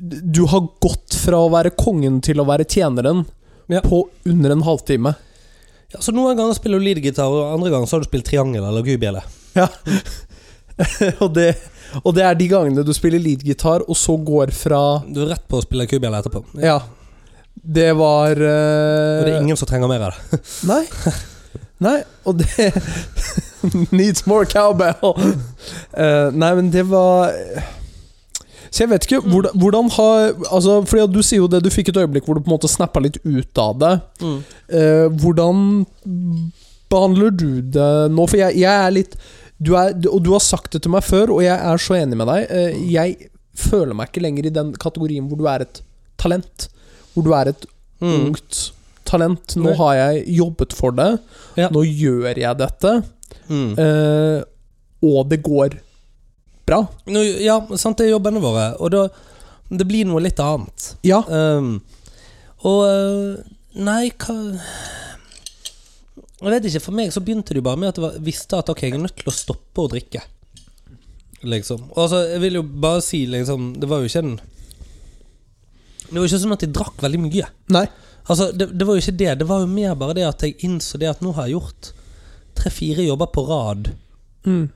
S1: Du har gått fra å være kongen til å være tjeneren
S2: Ja.
S1: på under en halvtime.
S2: Ja, så noen ganger spiller du leadgitar, og andre ganger så har du spilt triangel eller gubjelle.
S1: og, det, og det er de gangene du spiller leadgitar, og så går fra
S2: Du er rett på å spille kubjelle etterpå.
S1: Ja. Det var eh,
S2: Og det er ingen som trenger mer av det.
S1: Nei. Nei, og det Needs more cowbell! Eh, nei, men det var Så jeg vet ikke hvordan, hvordan har altså, Fordi at Du sier jo det, du fikk et øyeblikk hvor du på en måte snappa litt ut av det. Eh, hvordan behandler du det nå? For jeg, jeg er litt du er, du- Og du har sagt det til meg før, og jeg er så enig med deg. Eh, jeg føler meg ikke lenger i den kategorien hvor du er et talent. Hvor du er et
S2: Mm.
S1: ungt talent. Nå
S2: Nei.
S1: har jeg jobbet for det.
S2: Ja.
S1: Nå gjør jeg dette.
S2: Mm.
S1: eh, og det går bra.
S2: Nå, ja, sant, det er jobbene våre, og da Det blir noe litt annet.
S1: Ja.
S2: Um, og eh, Nei, hva Jeg vet ikke. For meg så begynte det jo bare med at jeg var- visste at ok, jeg er nødt til å stoppe å drikke. Liksom. Og altså, jeg vil jo bare si, liksom Det var jo ikke en Det var jo ikke sånn at jeg drakk veldig mye.
S1: Nei.
S2: Altså, det, det var jo ikke det. Det var jo mer bare det at jeg innså det at nå har jeg gjort tre-fire jobber på rad.
S1: Mm.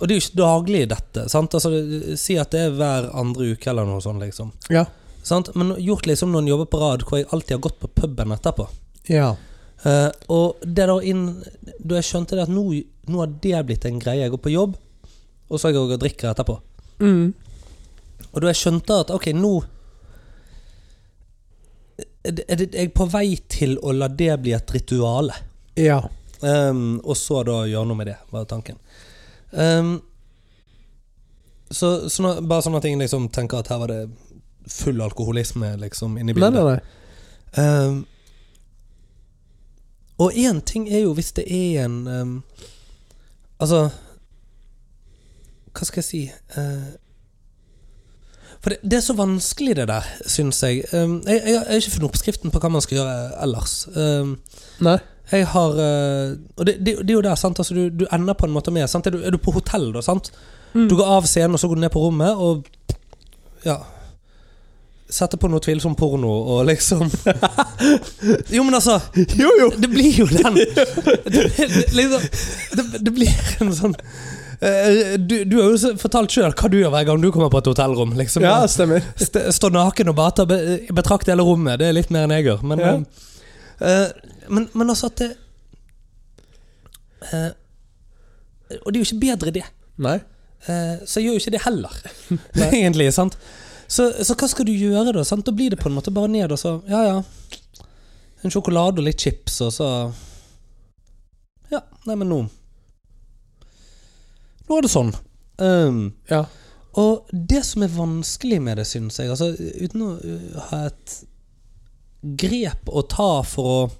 S2: Og det er jo ikke daglig, dette. sant? Altså, det- Si at det er hver andre uke eller noe sånt. liksom.
S1: Ja.
S2: Sant? Men gjort liksom noen jobber på rad hvor jeg alltid har gått på puben etterpå.
S1: Ja.
S2: Eh, og det da inn Da jeg skjønte det at nå, nå har det blitt en greie. Jeg går på jobb, og så går jeg og drikker etterpå.
S1: Mm.
S2: Og da jeg skjønte at ok, nå er det- er det- jeg er på vei til å la det bli et rituale.
S1: Ja.
S2: Ehm, og så da gjøre noe med det, var tanken. Ehm, så sånn at- bare sånn at ingen liksom tenker at her var det full alkoholisme liksom inni
S1: Nei,
S2: bildet.
S1: nei, nei.
S2: Ehm, og én ting er jo hvis det er en ehm, Altså Hva skal jeg si Eh, For det, det er så vanskelig, det der, syns jeg. Ehm, jeg. Jeg har ikke funnet oppskriften på hva man skal gjøre ellers. Ehm,
S1: nei.
S2: jeg har eh, Og det, det, det er jo der, sant. Altså, du, du ender på en måte med sant? Er, du, er du på hotell, da, sant?
S1: Mm.
S2: Du går av scenen, og så går du ned på rommet og Ja. Setter på noe tvilsom porno og liksom Jo, men altså
S1: Jo, jo!
S2: det blir jo den det, det, liksom, det, det blir en sånn eh, du, du har jo så- fortalt sjøl hva du gjør hver gang du kommer på et hotellrom. Liksom.
S1: Ja, stemmer.
S2: St stå naken og bare ta be betrakt hele rommet. Det er litt mer enn jeg gjør. Men,
S1: Ja.
S2: eh, eh, men, men altså at det eh, Og det er jo ikke bedre, det.
S1: Nei.
S2: Eh, så jeg gjør jo ikke det heller, egentlig. sant? Så, så hva skal du gjøre, da? sant? Da blir det på en måte bare ned og så Ja, ja. En sjokolade og litt chips, og så Ja, nei, men nå Nå er det sånn. Ehm,
S1: Ja.
S2: og det som er vanskelig med det, syns jeg, altså uten å uh, ha et grep å ta for å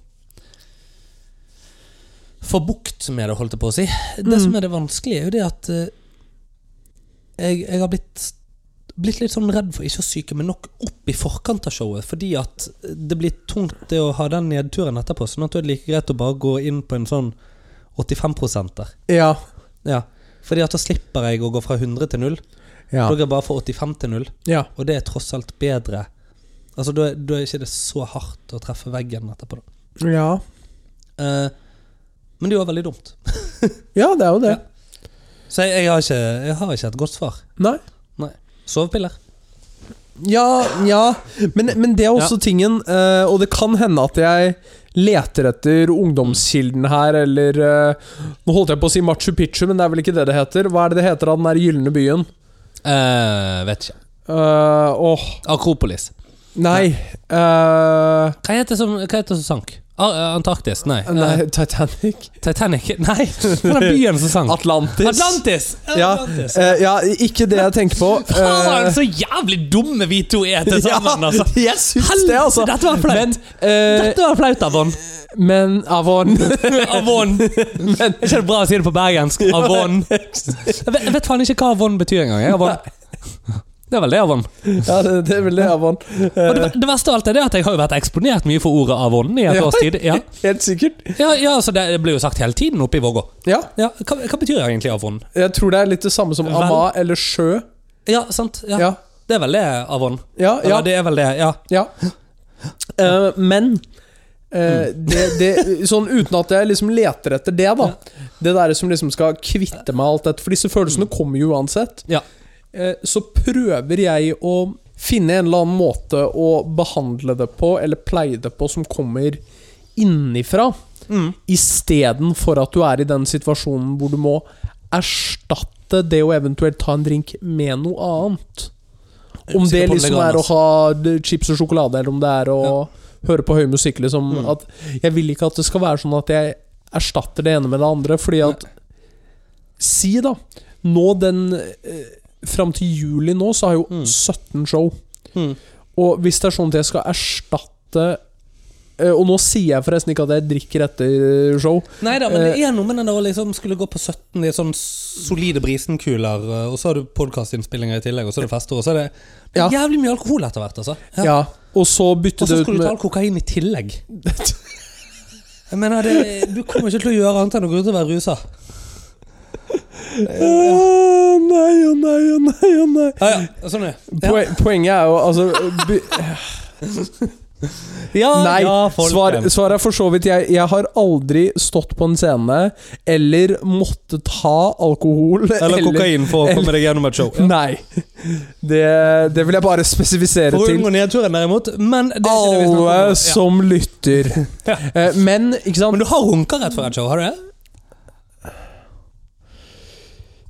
S2: få bukt med det, holdt jeg på å si Det som er det vanskelige, er jo det at uh, jeg, jeg har blitt Blitt litt sånn redd for ikke å psyke meg nok opp i forkant av showet, fordi at det blir tungt det å ha den nedturen etterpå. Sånn at det er like greit å bare gå inn på en sånn 85-prosenter.
S1: Ja.
S2: Ja. Fordi at da slipper jeg å gå fra 100 til 0.
S1: Ja.
S2: Da går jeg bare fra 85 til 0,
S1: ja.
S2: og det er tross alt bedre. Altså, Da da er ikke det så hardt å treffe veggen etterpå. da.
S1: ja.
S2: Eh, men det er jo veldig dumt.
S1: Ja, det er jo det.
S2: Så jeg, jeg, har ikke, jeg har ikke et godt svar.
S1: Nei.
S2: Nei. Sovepiller.
S1: Ja, ja. Men, men det er også tingen, eh, og det kan hende at jeg leter etter ungdomskilden her, eller eh, Nå holdt jeg på å si Machu Picchu, men det er vel ikke det det heter. Hva er det det heter av den der gylne byen?
S2: vet ikke.
S1: Eh, Åh,
S2: Akropolis.
S1: nei. Eh,
S2: Hva heter det som, hva heter det som sank? Ah, eh, Antarktis? Nei. Eh,
S1: nei Titanic?
S2: Titanic? Nei! Den er byen som sank.
S1: Atlantis?
S2: Atlantis!
S1: Ja,
S2: Atlantis.
S1: eh, ja, ikke det jeg tenker på.
S2: Faen,
S1: Eh,
S2: så jævlig dumme vi to er til sammen, altså!
S1: jeg syns det, altså.
S2: Helvete, dette var flaut.
S1: Men, eh,
S2: Dette var flaut, Avon.
S1: men Avon
S2: Avon.
S1: Men
S2: Er ikke det bra å si det på bergensk? Avon. Jeg vet, jeg vet faen ikke hva avon betyr engang. jeg. Avon. Det er vel det, avon.
S1: Ja, det, det er vel det, Avon.
S2: Og det, det verste av alt er det at jeg har jo vært eksponert mye for ordet avon i et
S1: Ja.
S2: års tid. Ja,
S1: Helt sikkert.
S2: ja, ja så det blir jo sagt hele tiden oppe i Vågå.
S1: Ja.
S2: Ja, hva, hva betyr egentlig avon?
S1: Jeg tror det er litt det samme som
S2: Vel.
S1: ama eller sjø.
S2: Ja, sant. Ja.
S1: Ja.
S2: Det er vel det, avon.
S1: Ja,
S2: Eller
S1: ja.
S2: det er vel det, ja.
S1: ja. Eh, men eh, det, det, sånn uten at jeg liksom leter etter det, da. Det der som liksom skal kvitte meg alt dette. For disse følelsene kommer jo uansett.
S2: Ja.
S1: Eh, så prøver jeg å finne en eller annen måte å behandle det på, eller pleie det på, som kommer innifra.
S2: Mm.
S1: Istedenfor at du er i den situasjonen hvor du må erstatte det å eventuelt ta en drink med noe annet. Om det
S2: Sikker på om det
S1: liksom
S2: går an,
S1: er å
S2: ass.
S1: ha d- chips og sjokolade, eller om det er å høre på høy musikk. Liksom, at jeg vil ikke at det skal være sånn at jeg erstatter det ene med det andre. Fordi at Si, da. Nå den eh, Fram til juli nå så har jeg jo 17 show.
S2: Mm.
S1: Og hvis det er sånn at jeg skal erstatte eh, Og nå sier jeg forresten ikke at jeg drikker etter show.
S2: Nei da, men det er noe med den der å liksom skulle gå på 17 i sånn solide brisenkuler, eh, og så har du podkastinnspillinger i tillegg, og så er det fester, og så er det, det
S1: Ja.
S2: er jævlig mye alkohol etter hvert, altså.
S1: Ja. Og så bytte
S2: Og så
S1: det ut
S2: skal du ta
S1: med
S2: all kokain i tillegg. Jeg mener, det, du kommer ikke til å gjøre annet enn å gå ut og være rusa.
S1: Åh, Nei og nei og nei og nei.
S2: Ja, ja, sånn er det.
S1: Poe- Poenget er jo altså by,
S2: Ja,
S1: Nei,
S2: ja, folkens.
S1: svar, svaret er for så vidt jeg, jeg har aldri stått på en scene eller måttet ha alkohol
S2: Eller kokain for å komme deg gjennom et show.
S1: Nei. Det, det vil jeg bare spesifisere
S2: For å
S1: til
S2: unngå nedturen, derimot. Men det er ikke det vi snakker om.
S1: alle
S2: Ja.
S1: som lytter. Eh, Men, ikke
S2: Men
S1: sant
S2: du har runka rett før et show, har du det?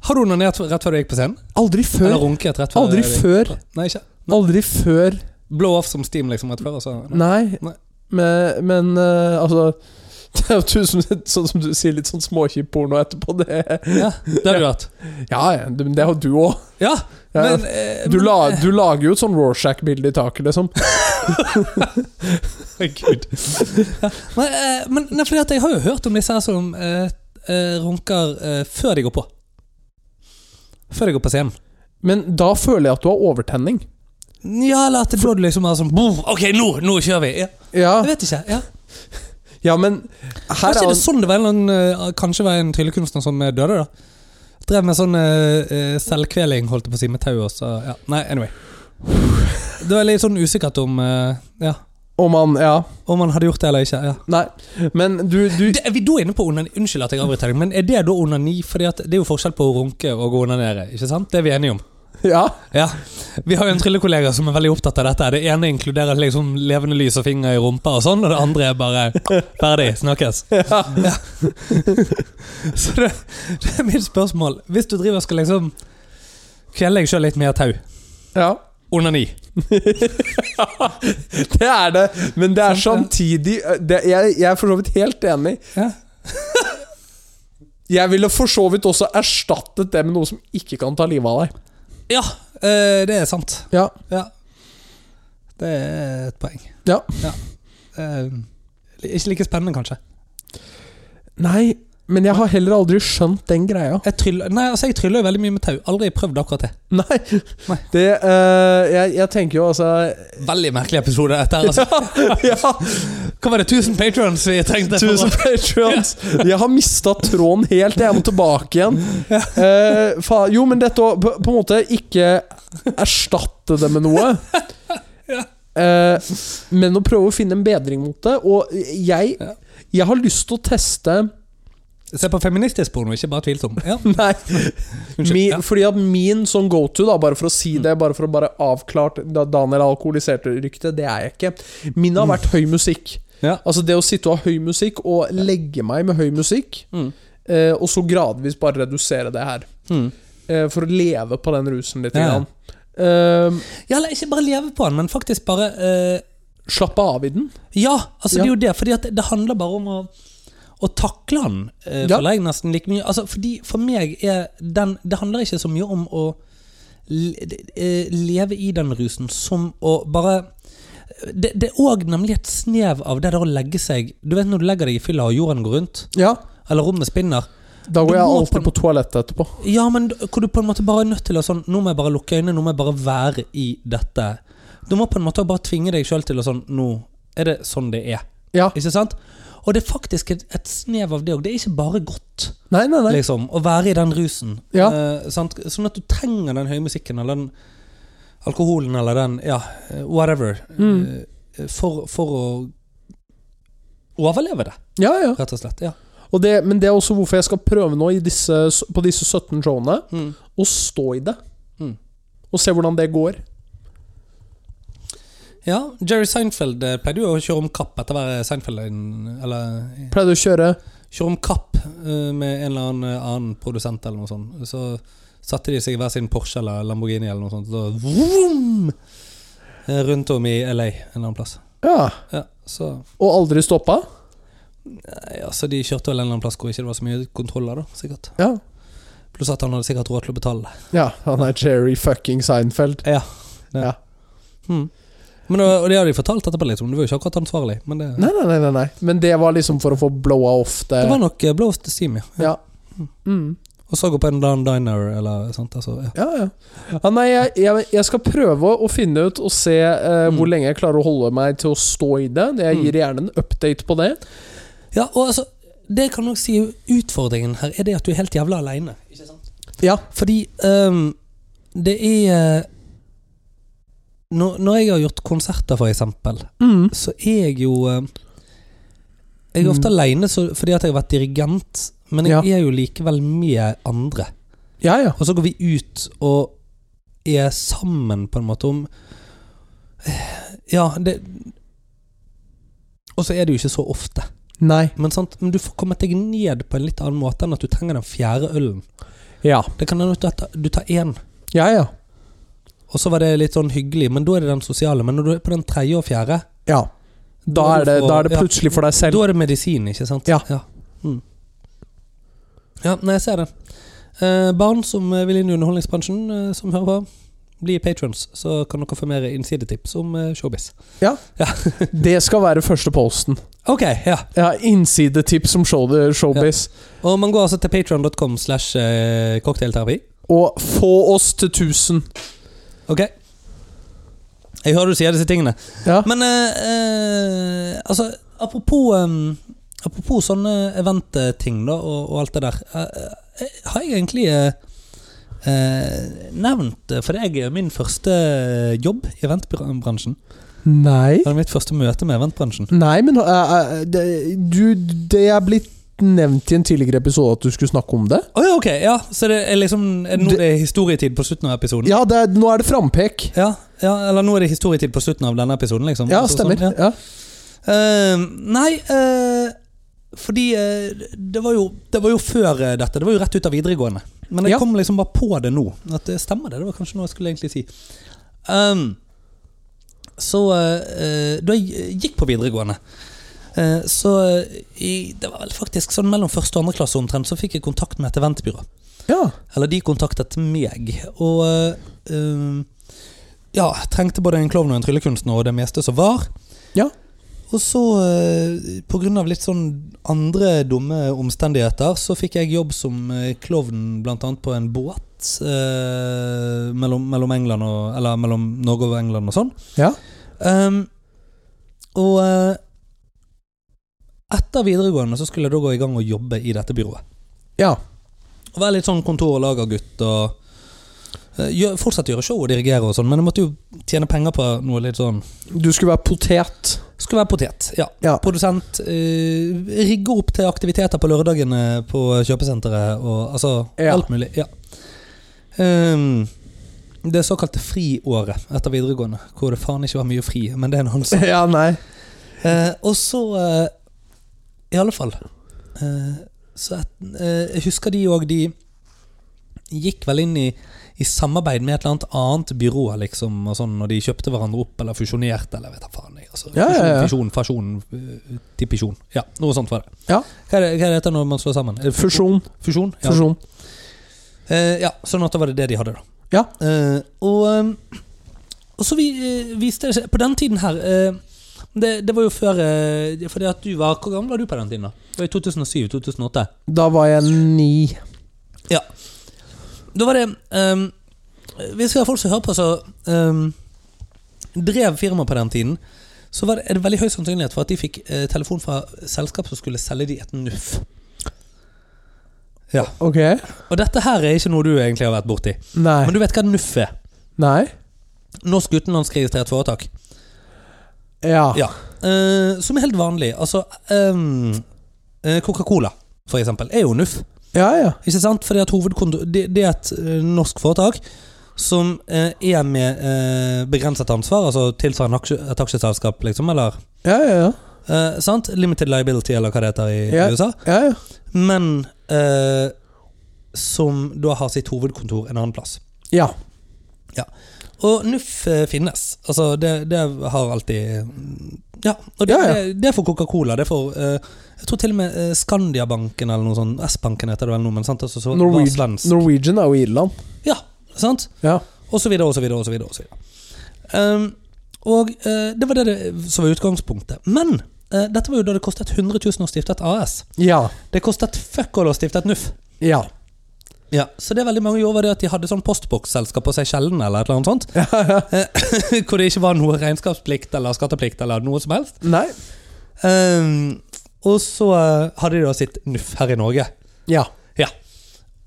S2: Har du onanert rett før du gikk på scenen?
S1: Aldri
S2: Eller
S1: før.
S2: runket rett før?
S1: Aldri før.
S2: Nei, ikke.
S1: Aldri før.
S2: Blow off som steam liksom rett før, og så
S1: Nei.
S2: Nei.
S1: Men, men eh, altså det er jo tusen, sånn som du sier, litt sånn småkjip porno etterpå. Det,
S2: Ja, det har du hatt.
S1: ja, ja, det, men det har du òg.
S2: Ja,
S1: Ja,
S2: Men, eh,
S1: du, la, du lager jo et sånn Rorschach-bilde i taket, liksom.
S2: Gud. Men, eh, men nei, fordi at jeg har jo hørt om disse her som eh, eh, runker eh, før de går på. Før de går på scenen.
S1: Men da føler jeg at du har overtenning.
S2: Ja, eller at det da du liksom er sånn boom, Ok, nå, nå kjører vi! Ja.
S1: Ja,
S2: Jeg vet ikke. ja
S1: ja men her er
S2: Kanskje det er sånn det var en eller annen, eh, Kanskje var en tryllekunstner som eh, døde, da. Drev med sånn eh, eh, selvkveling, holdt jeg på å si, med tau og så ja. Nei, anyway. Det var litt sånn usikkert om eh, ja,
S1: Om han Ja.
S2: om han hadde gjort det eller ikke. ja
S1: Nei. Men du, du
S2: det, Er vi da inne på onani? Unnskyld at jeg avbryter deg, men er det da onani? Fordi at det er jo forskjell på å runke og å onanere, ikke sant? Det er vi enige om.
S1: Ja.
S2: Ja. Vi har jo en tryllekollega som er veldig opptatt av dette. Det ene inkluderer liksom levende lys og finger i rumpa og sånn, og det andre er bare ferdig, snakkes.
S1: ja.
S2: Så det, det er mitt spørsmål. Hvis du driver og skal liksom kvele deg sjøl litt med tau,
S1: ja.
S2: onani
S1: Det er det, men det er
S2: Sant,
S1: samtidig eh, det, jeg, jeg er for så vidt helt enig.
S2: Ja.
S1: Jeg ville for så vidt også erstattet det med noe som ikke kan ta livet av deg.
S2: Ja, eh, det er sant.
S1: Ja,
S2: Ja. Det er et poeng.
S1: ja.
S2: Eh, Ikke like spennende, kanskje.
S1: Nei, men jeg har heller aldri skjønt den greia.
S2: Jeg tryller, nei, altså jeg tryller jo veldig mye med tau. Aldri prøvd akkurat det.
S1: Nei.
S2: Nei.
S1: Det eh, jeg, jeg tenker jo altså
S2: Veldig merkelig episode. Dette, her, altså.
S1: Ja,
S2: Hva var det 1000 patrons vi trengte? for å-
S1: tusen patrions! Jeg har mista tråden helt. Jeg må tilbake igjen. Eh, fa jo, men dette å på, på en måte ikke erstatte det med noe. Eh, men å prøve å finne en bedring mot det. Og jeg,
S2: Ja.
S1: jeg har lyst til å teste
S2: Se på feministisk porno, ikke bare tvilsom. Ja.
S1: Nei,
S2: Unnskyld.
S1: mi,
S2: ja. Mm.
S1: fordi at min sånn go to, da, bare for å si det, bare for å bare avklart da Daniel har alkoholisert rykte, det er jeg ikke. Min
S2: Mm.
S1: har vært høy musikk.
S2: Ja.
S1: Altså det å sitte og ha høy musikk, og legge meg med høy musikk, eh, og så gradvis bare redusere det her.
S2: Mm.
S1: Eh, for å leve på den rusen litt.
S2: Ja.
S1: Grann. Eh,
S2: ja, eller ikke bare leve på den, men faktisk bare eh,
S1: slappe av i den.
S2: Ja, altså
S1: Ja.
S2: det er jo det. Fordi at det handler bare om å, å takle den, eh,
S1: Ja.
S2: føler jeg nesten like mye. Altså, fordi for meg er den Det handler ikke så mye om å le- de- eh, leve i den rusen som å bare det, det er òg nemlig et snev av det der å legge seg Du vet når du legger deg i fylla og jorden går rundt,
S1: Ja,
S2: eller rommet spinner.
S1: Da
S2: Du
S1: går jeg
S2: må på
S1: alltid
S2: en-
S1: på toalettet etterpå.
S2: Ja, men d- hvor du på en måte bare er nødt til å sånn Nå må jeg bare lukke øynene, nå må jeg bare være i dette. Du må på en måte bare tvinge deg sjøl til å sånn Nå er det sånn det er.
S1: Ja.
S2: Ikke sant? Og det er faktisk et, et snev av det òg. Det er ikke bare godt
S1: Nei, nei, nei.
S2: liksom, å være i den rusen.
S1: Ja.
S2: Eh, sant? Sånn at du trenger den høye musikken eller den alkoholen eller den Ja, eh, whatever.
S1: Mm.
S2: eh, For, for å overleve det,
S1: Ja, ja.
S2: rett og slett. Ja.
S1: Og det, men det er også hvorfor jeg skal prøve nå i disse, på disse 17 showene
S2: Mm.
S1: å stå i det.
S2: Mm.
S1: Og se hvordan det går.
S2: ja Jerry Seinfeld eh, pleide jo å kjøre om kapp etter hver Seinfeld Eller
S1: Pleide å kjøre
S2: kjøre om kapp eh, med en eller annen, eh, annen produsent eller noe sånt. Så satte de seg i hver sin Porsche eller Lamborghini eller noe sånt. Så vroom, eh, rundt om i LA en eller annen plass.
S1: Ja.
S2: Ja, så
S1: Og aldri stoppa.
S2: Nei, altså De kjørte vel en eller annen plass hvor ikke det var så mye kontroller, da, sikkert.
S1: Ja.
S2: Pluss at han hadde sikkert råd til å betale.
S1: ja. Han er Jerry fucking Seinfeld.
S2: Ja.
S1: Ja.
S2: Hmm. Men, og og det har de fortalt etterpå, liksom. Du var jo ikke akkurat ansvarlig. Men det,
S1: Nei, nei, nei, nei, nei. Men det var liksom for å få blowa off det.
S2: det var nok eh, Blows to Steam, ja.
S1: Ja. Mm.
S2: Og så gå på en eller annen diner eller sånt. Altså, ja.
S1: Ja, ja. ja nei, jeg, jeg, jeg skal prøve å finne ut og se eh,
S2: Mm.
S1: hvor lenge jeg klarer å holde meg til å stå i det. Jeg gir gjerne en update på det.
S2: ja, og altså Det kan nok si utfordringen her er det at du er helt jævla aleine.
S1: Ja.
S2: Fordi ehm, det er eh, når, når jeg har gjort konserter, for eksempel,
S1: Mm.
S2: så er jeg jo eh, Jeg er ofte alene så, fordi at jeg har vært dirigent, men jeg er jo likevel med andre.
S1: Ja, ja.
S2: Og så går vi ut og er sammen, på en måte, om eh, Ja, det Og så er det jo ikke så ofte.
S1: Nei.
S2: Men, sant? men du får kommet deg ned på en litt annen måte enn at du trenger den fjerde ølen.
S1: Ja.
S2: Det kan hende at du tar- du tar én.
S1: Ja, ja.
S2: Og så var det litt sånn hyggelig, men da er det den sosiale. Men når du er på den tredje og fjerde,
S1: ja. Da, er det, da er det
S2: Ja.
S1: plutselig for deg selv.
S2: da er det medisin, ikke sant?
S1: Ja.
S2: Ja, mm. ja nei, jeg ser det. Eh, barn som eh, vil inn i underholdningsbransjen, eh, som hører på. Bli patrons, så kan dere få mer innsidetips om eh, showbiz.
S1: Det skal være første posten.
S2: Ok, ja.
S1: Ja, Innsidetips om show, showbiz.
S2: Og man går altså til patron.com slash eh, cocktailterapi.
S1: Og få oss til 1000.
S2: Ok? Jeg hører du sier disse tingene.
S1: Ja.
S2: Men eh, eh, altså, apropos eh, Apropos sånne eventting da, og, og alt det der. eh, eh, har jeg egentlig eh, eh, nevnt eh, For det er min første jobb i eventbransjen.
S1: Nei.
S2: Det er mitt første møte med eventbransjen.
S1: Nei, men eh, eh, det, du Det er blitt nevnt i en tidligere episode at du skulle snakke om det.
S2: Å ja, ok. Ja, så det er liksom er det nå det er historietid på slutten av episoden?
S1: Ja, det er, nå er det frampek.
S2: Ja, ja, eller nå er det historietid på slutten av denne episoden, liksom.
S1: Ja,
S2: Altså,
S1: stemmer.
S2: sånn, ja.
S1: Ja.
S2: Eh, nei, eh, fordi eh, det, var jo, det var jo før eh, dette. Det var jo rett ut av videregående. Men jeg
S1: Ja.
S2: kom liksom bare på det nå. At det stemmer, det. Det var kanskje noe jeg skulle egentlig si. Ehm, så eh, eh, da jeg gikk på videregående eh, så eh, i, Det var vel faktisk sånn mellom første og andre klasse omtrent, så fikk jeg kontakt med et eventbyrå.
S1: ja.
S2: Eller de kontaktet meg. Og eh, um, ja, trengte både en klovn og en tryllekunstner og det meste som var.
S1: Ja.
S2: Og så, eh, på grunn av litt sånn andre dumme omstendigheter, så fikk jeg jobb som eh, klovn blant annet på en båt. eh, mellom, mellom, England og, eller mellom Norge og England og sånn.
S1: Ja.
S2: Um, og eh, etter videregående så skulle jeg da gå i gang og jobbe i dette byrået.
S1: Ja.
S2: Å være litt sånn kontor- og lagergutt og eh, gjø- Fortsatt gjøre show og dirigere og sånn, men jeg måtte jo tjene penger på noe litt sånn
S1: Du skulle være potet.
S2: Skulle være potet, ja.
S1: Ja.
S2: Produsent. eh, rigge opp til aktiviteter på lørdagene på kjøpesenteret og altså
S1: Ja.
S2: alt mulig. Ja. Ehm, det såkalte friåret etter videregående, hvor det faen ikke var mye fri, men det er en annen sak.
S1: Ja, nei.
S2: Eh, og så eh, I alle fall eh, så et, eh, Jeg husker de òg, de gikk vel inn i, i samarbeid med et eller annet annet byrå, liksom, og sånn, når de kjøpte hverandre opp eller fusjonerte, eller vet da faen. jeg, Altså,
S1: Ja, ja, ja.
S2: Fusjon, fasjon, eh, dipisjon. Ja, noe sånt var det.
S1: Ja.
S2: Hva er det, hva er det heter når man slår sammen?
S1: Eh,
S2: Er det fu-
S1: Fusjon.
S2: Fusjon? Ja.
S1: Fusjon.
S2: Eh, ja, sånn at da var det det de hadde, da.
S1: Ja.
S2: Eh, og, eh, og så vi, eh, viste det seg På den tiden her eh, det, det var jo før eh, Fordi at du var Hvor gammel var du på den tiden? da? Det var i 2007-2008.
S1: Da var jeg ni.
S2: Ja. Da var det ehm, Hvis vi har folk som hører på, så ehm, drev firmaet på den tiden. Så var det, er det veldig høy sannsynlighet for at de fikk eh, telefon fra selskap som skulle selge de et NUF.
S1: Ok.
S2: Og dette her er ikke noe du egentlig har vært borti.
S1: Nei.
S2: Men du vet hva NUF er?
S1: Nei.
S2: Norsk utenlandskregistrert foretak.
S1: Ja.
S2: Ja. Eh, som er helt vanlig. Altså ehm, eh, Coca-Cola, for eksempel, er jo NUF.
S1: Ja, ja.
S2: Ikke sant? Fordi at hovedkonto Det, det er et eh, norsk foretak som eh, er med eh, begrenset ansvar, altså tilsvarende aksje, et aksjeselskap, liksom, eller
S1: Ja, ja, ja.
S2: eh, sant? Limited liability, eller hva det heter i
S1: Ja.
S2: USA.
S1: ja, ja.
S2: Men eh, som da har sitt hovedkontor en annen plass.
S1: ja.
S2: Og NUF eh, finnes. Altså, det, det har alltid Ja. Og det,
S1: Ja, ja.
S2: Det, det er for Coca-Cola. Det er for eh, Jeg tror til og med eh, Skandiabanken eller noe sånt. S-banken heter det vel nå, men sant? Altså, så, var
S1: Norwegian,
S2: svensk.
S1: Norwegian er jo Irland.
S2: Ja, sant?
S1: Ja.
S2: Og så videre, og så videre, og så videre. Og, så videre. Ehm, og eh, det var det, det som var utgangspunktet. Men eh, dette var jo da det kostet 100 000 å stifte et AS.
S1: Ja.
S2: Det kostet fuck all å stifte et NUF.
S1: Ja.
S2: Ja, Så det veldig mange gjorde, var det at de hadde sånn postboksselskap på seg sjelden, eller et eller annet sånt. Eh, Hvor det ikke var noe regnskapsplikt eller skatteplikt eller noe som helst.
S1: Nei.
S2: Ehm, og så eh, hadde de da sitt NUF her i Norge.
S1: Ja.
S2: Ja.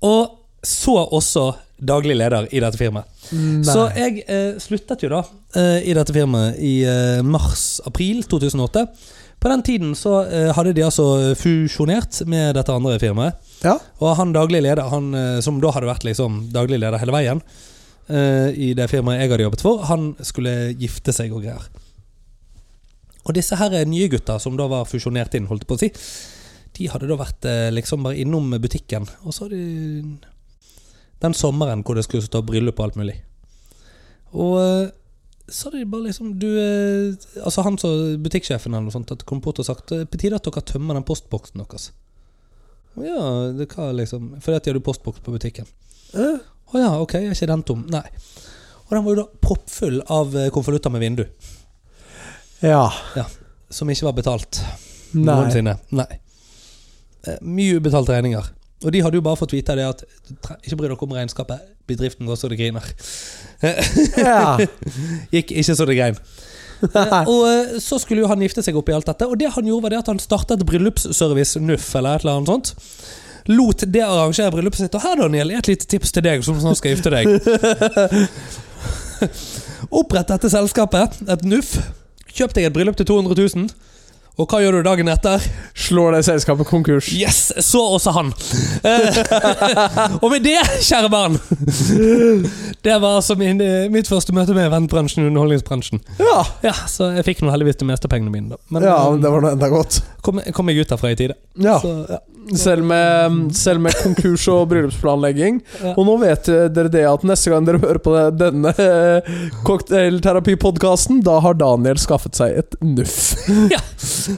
S2: Og så også daglig leder i dette firmaet.
S1: Nei.
S2: Så jeg eh, sluttet jo da eh, i dette firmaet i eh, mars-april 2008. På den tiden så eh, hadde de altså fusjonert med dette andre firmaet.
S1: Ja.
S2: Og han daglig leder, han eh, som da hadde vært liksom daglig leder hele veien eh, i det firmaet jeg hadde jobbet for, han skulle gifte seg og greier. Og disse her er nye gutta som da var fusjonert inn, holdt jeg på å si. De hadde da vært eh, liksom bare innom butikken, og så hadde de den sommeren hvor det skulle stå bryllup og alt mulig. Og eh, så hadde de bare liksom du, eh, Altså han så butikksjefen eller noe sånt hadde kommet bort og sagt eh, på tide at dere tømmer den postboksen deres. Å Ja, det hva liksom Fordi at de hadde postboks på butikken. Å ja, ok, er ikke den tom? Nei. Og den var jo da proppfull av eh, konvolutter med vindu.
S1: Ja.
S2: Ja. Som ikke var betalt
S1: Nei.
S2: noensinne. Nei. Eh, Mye ubetalte regninger. Og de hadde jo bare fått vite det at "Tre- Ikke bry dere om regnskapet, bedriften går så det griner.
S1: Ja.
S2: Gikk ikke så det grein. Eh, Og eh, så skulle jo han gifte seg opp i alt dette, og det han gjorde var det at han startet bryllupsservice NUF eller et eller annet sånt. Lot det arrangere bryllupet sitt. Og her, Daniel, er et lite tips til deg som snart skal gifte deg. Opprett dette selskapet, et NUF. Kjøp deg et bryllup til 200 000. Og hva gjør du dagen etter?
S1: Slår det selskapet konkurs?
S2: Yes! Så også han. Eh, og med det, kjære barn Det var altså min, eh, mitt første møte med eventbransjen og underholdningsbransjen.
S1: Ja.
S2: Ja, Så jeg fikk nå heldigvis det meste av pengene mine, da. Men
S1: ja,
S2: eh,
S1: det var noe enda godt.
S2: kom, kom jeg ut derfra i tide.
S1: Ja.
S2: Så, ja.
S1: Selv med, selv med konkurs og bryllupsplanlegging.
S2: Ja.
S1: Og nå vet eh, dere det at neste gang dere hører på det- denne eh, cocktailterapipodkasten, da har Daniel skaffet seg et nuff.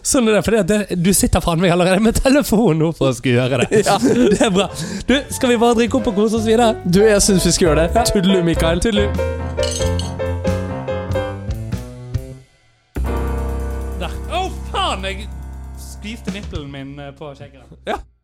S2: Sånn er det, for det, det, du sitter faen meg allerede med telefonen nå for å skulle gjøre det.
S1: Ja.
S2: Det er bra. Du, skal vi bare drikke opp og kose oss videre?
S1: Du, jeg syns vi skal gjøre det. Tudelu, Mikael. Tudelu.
S2: Der. Å, faen! Jeg skviste nippelen min eh, på kjekkeren.
S1: Ja.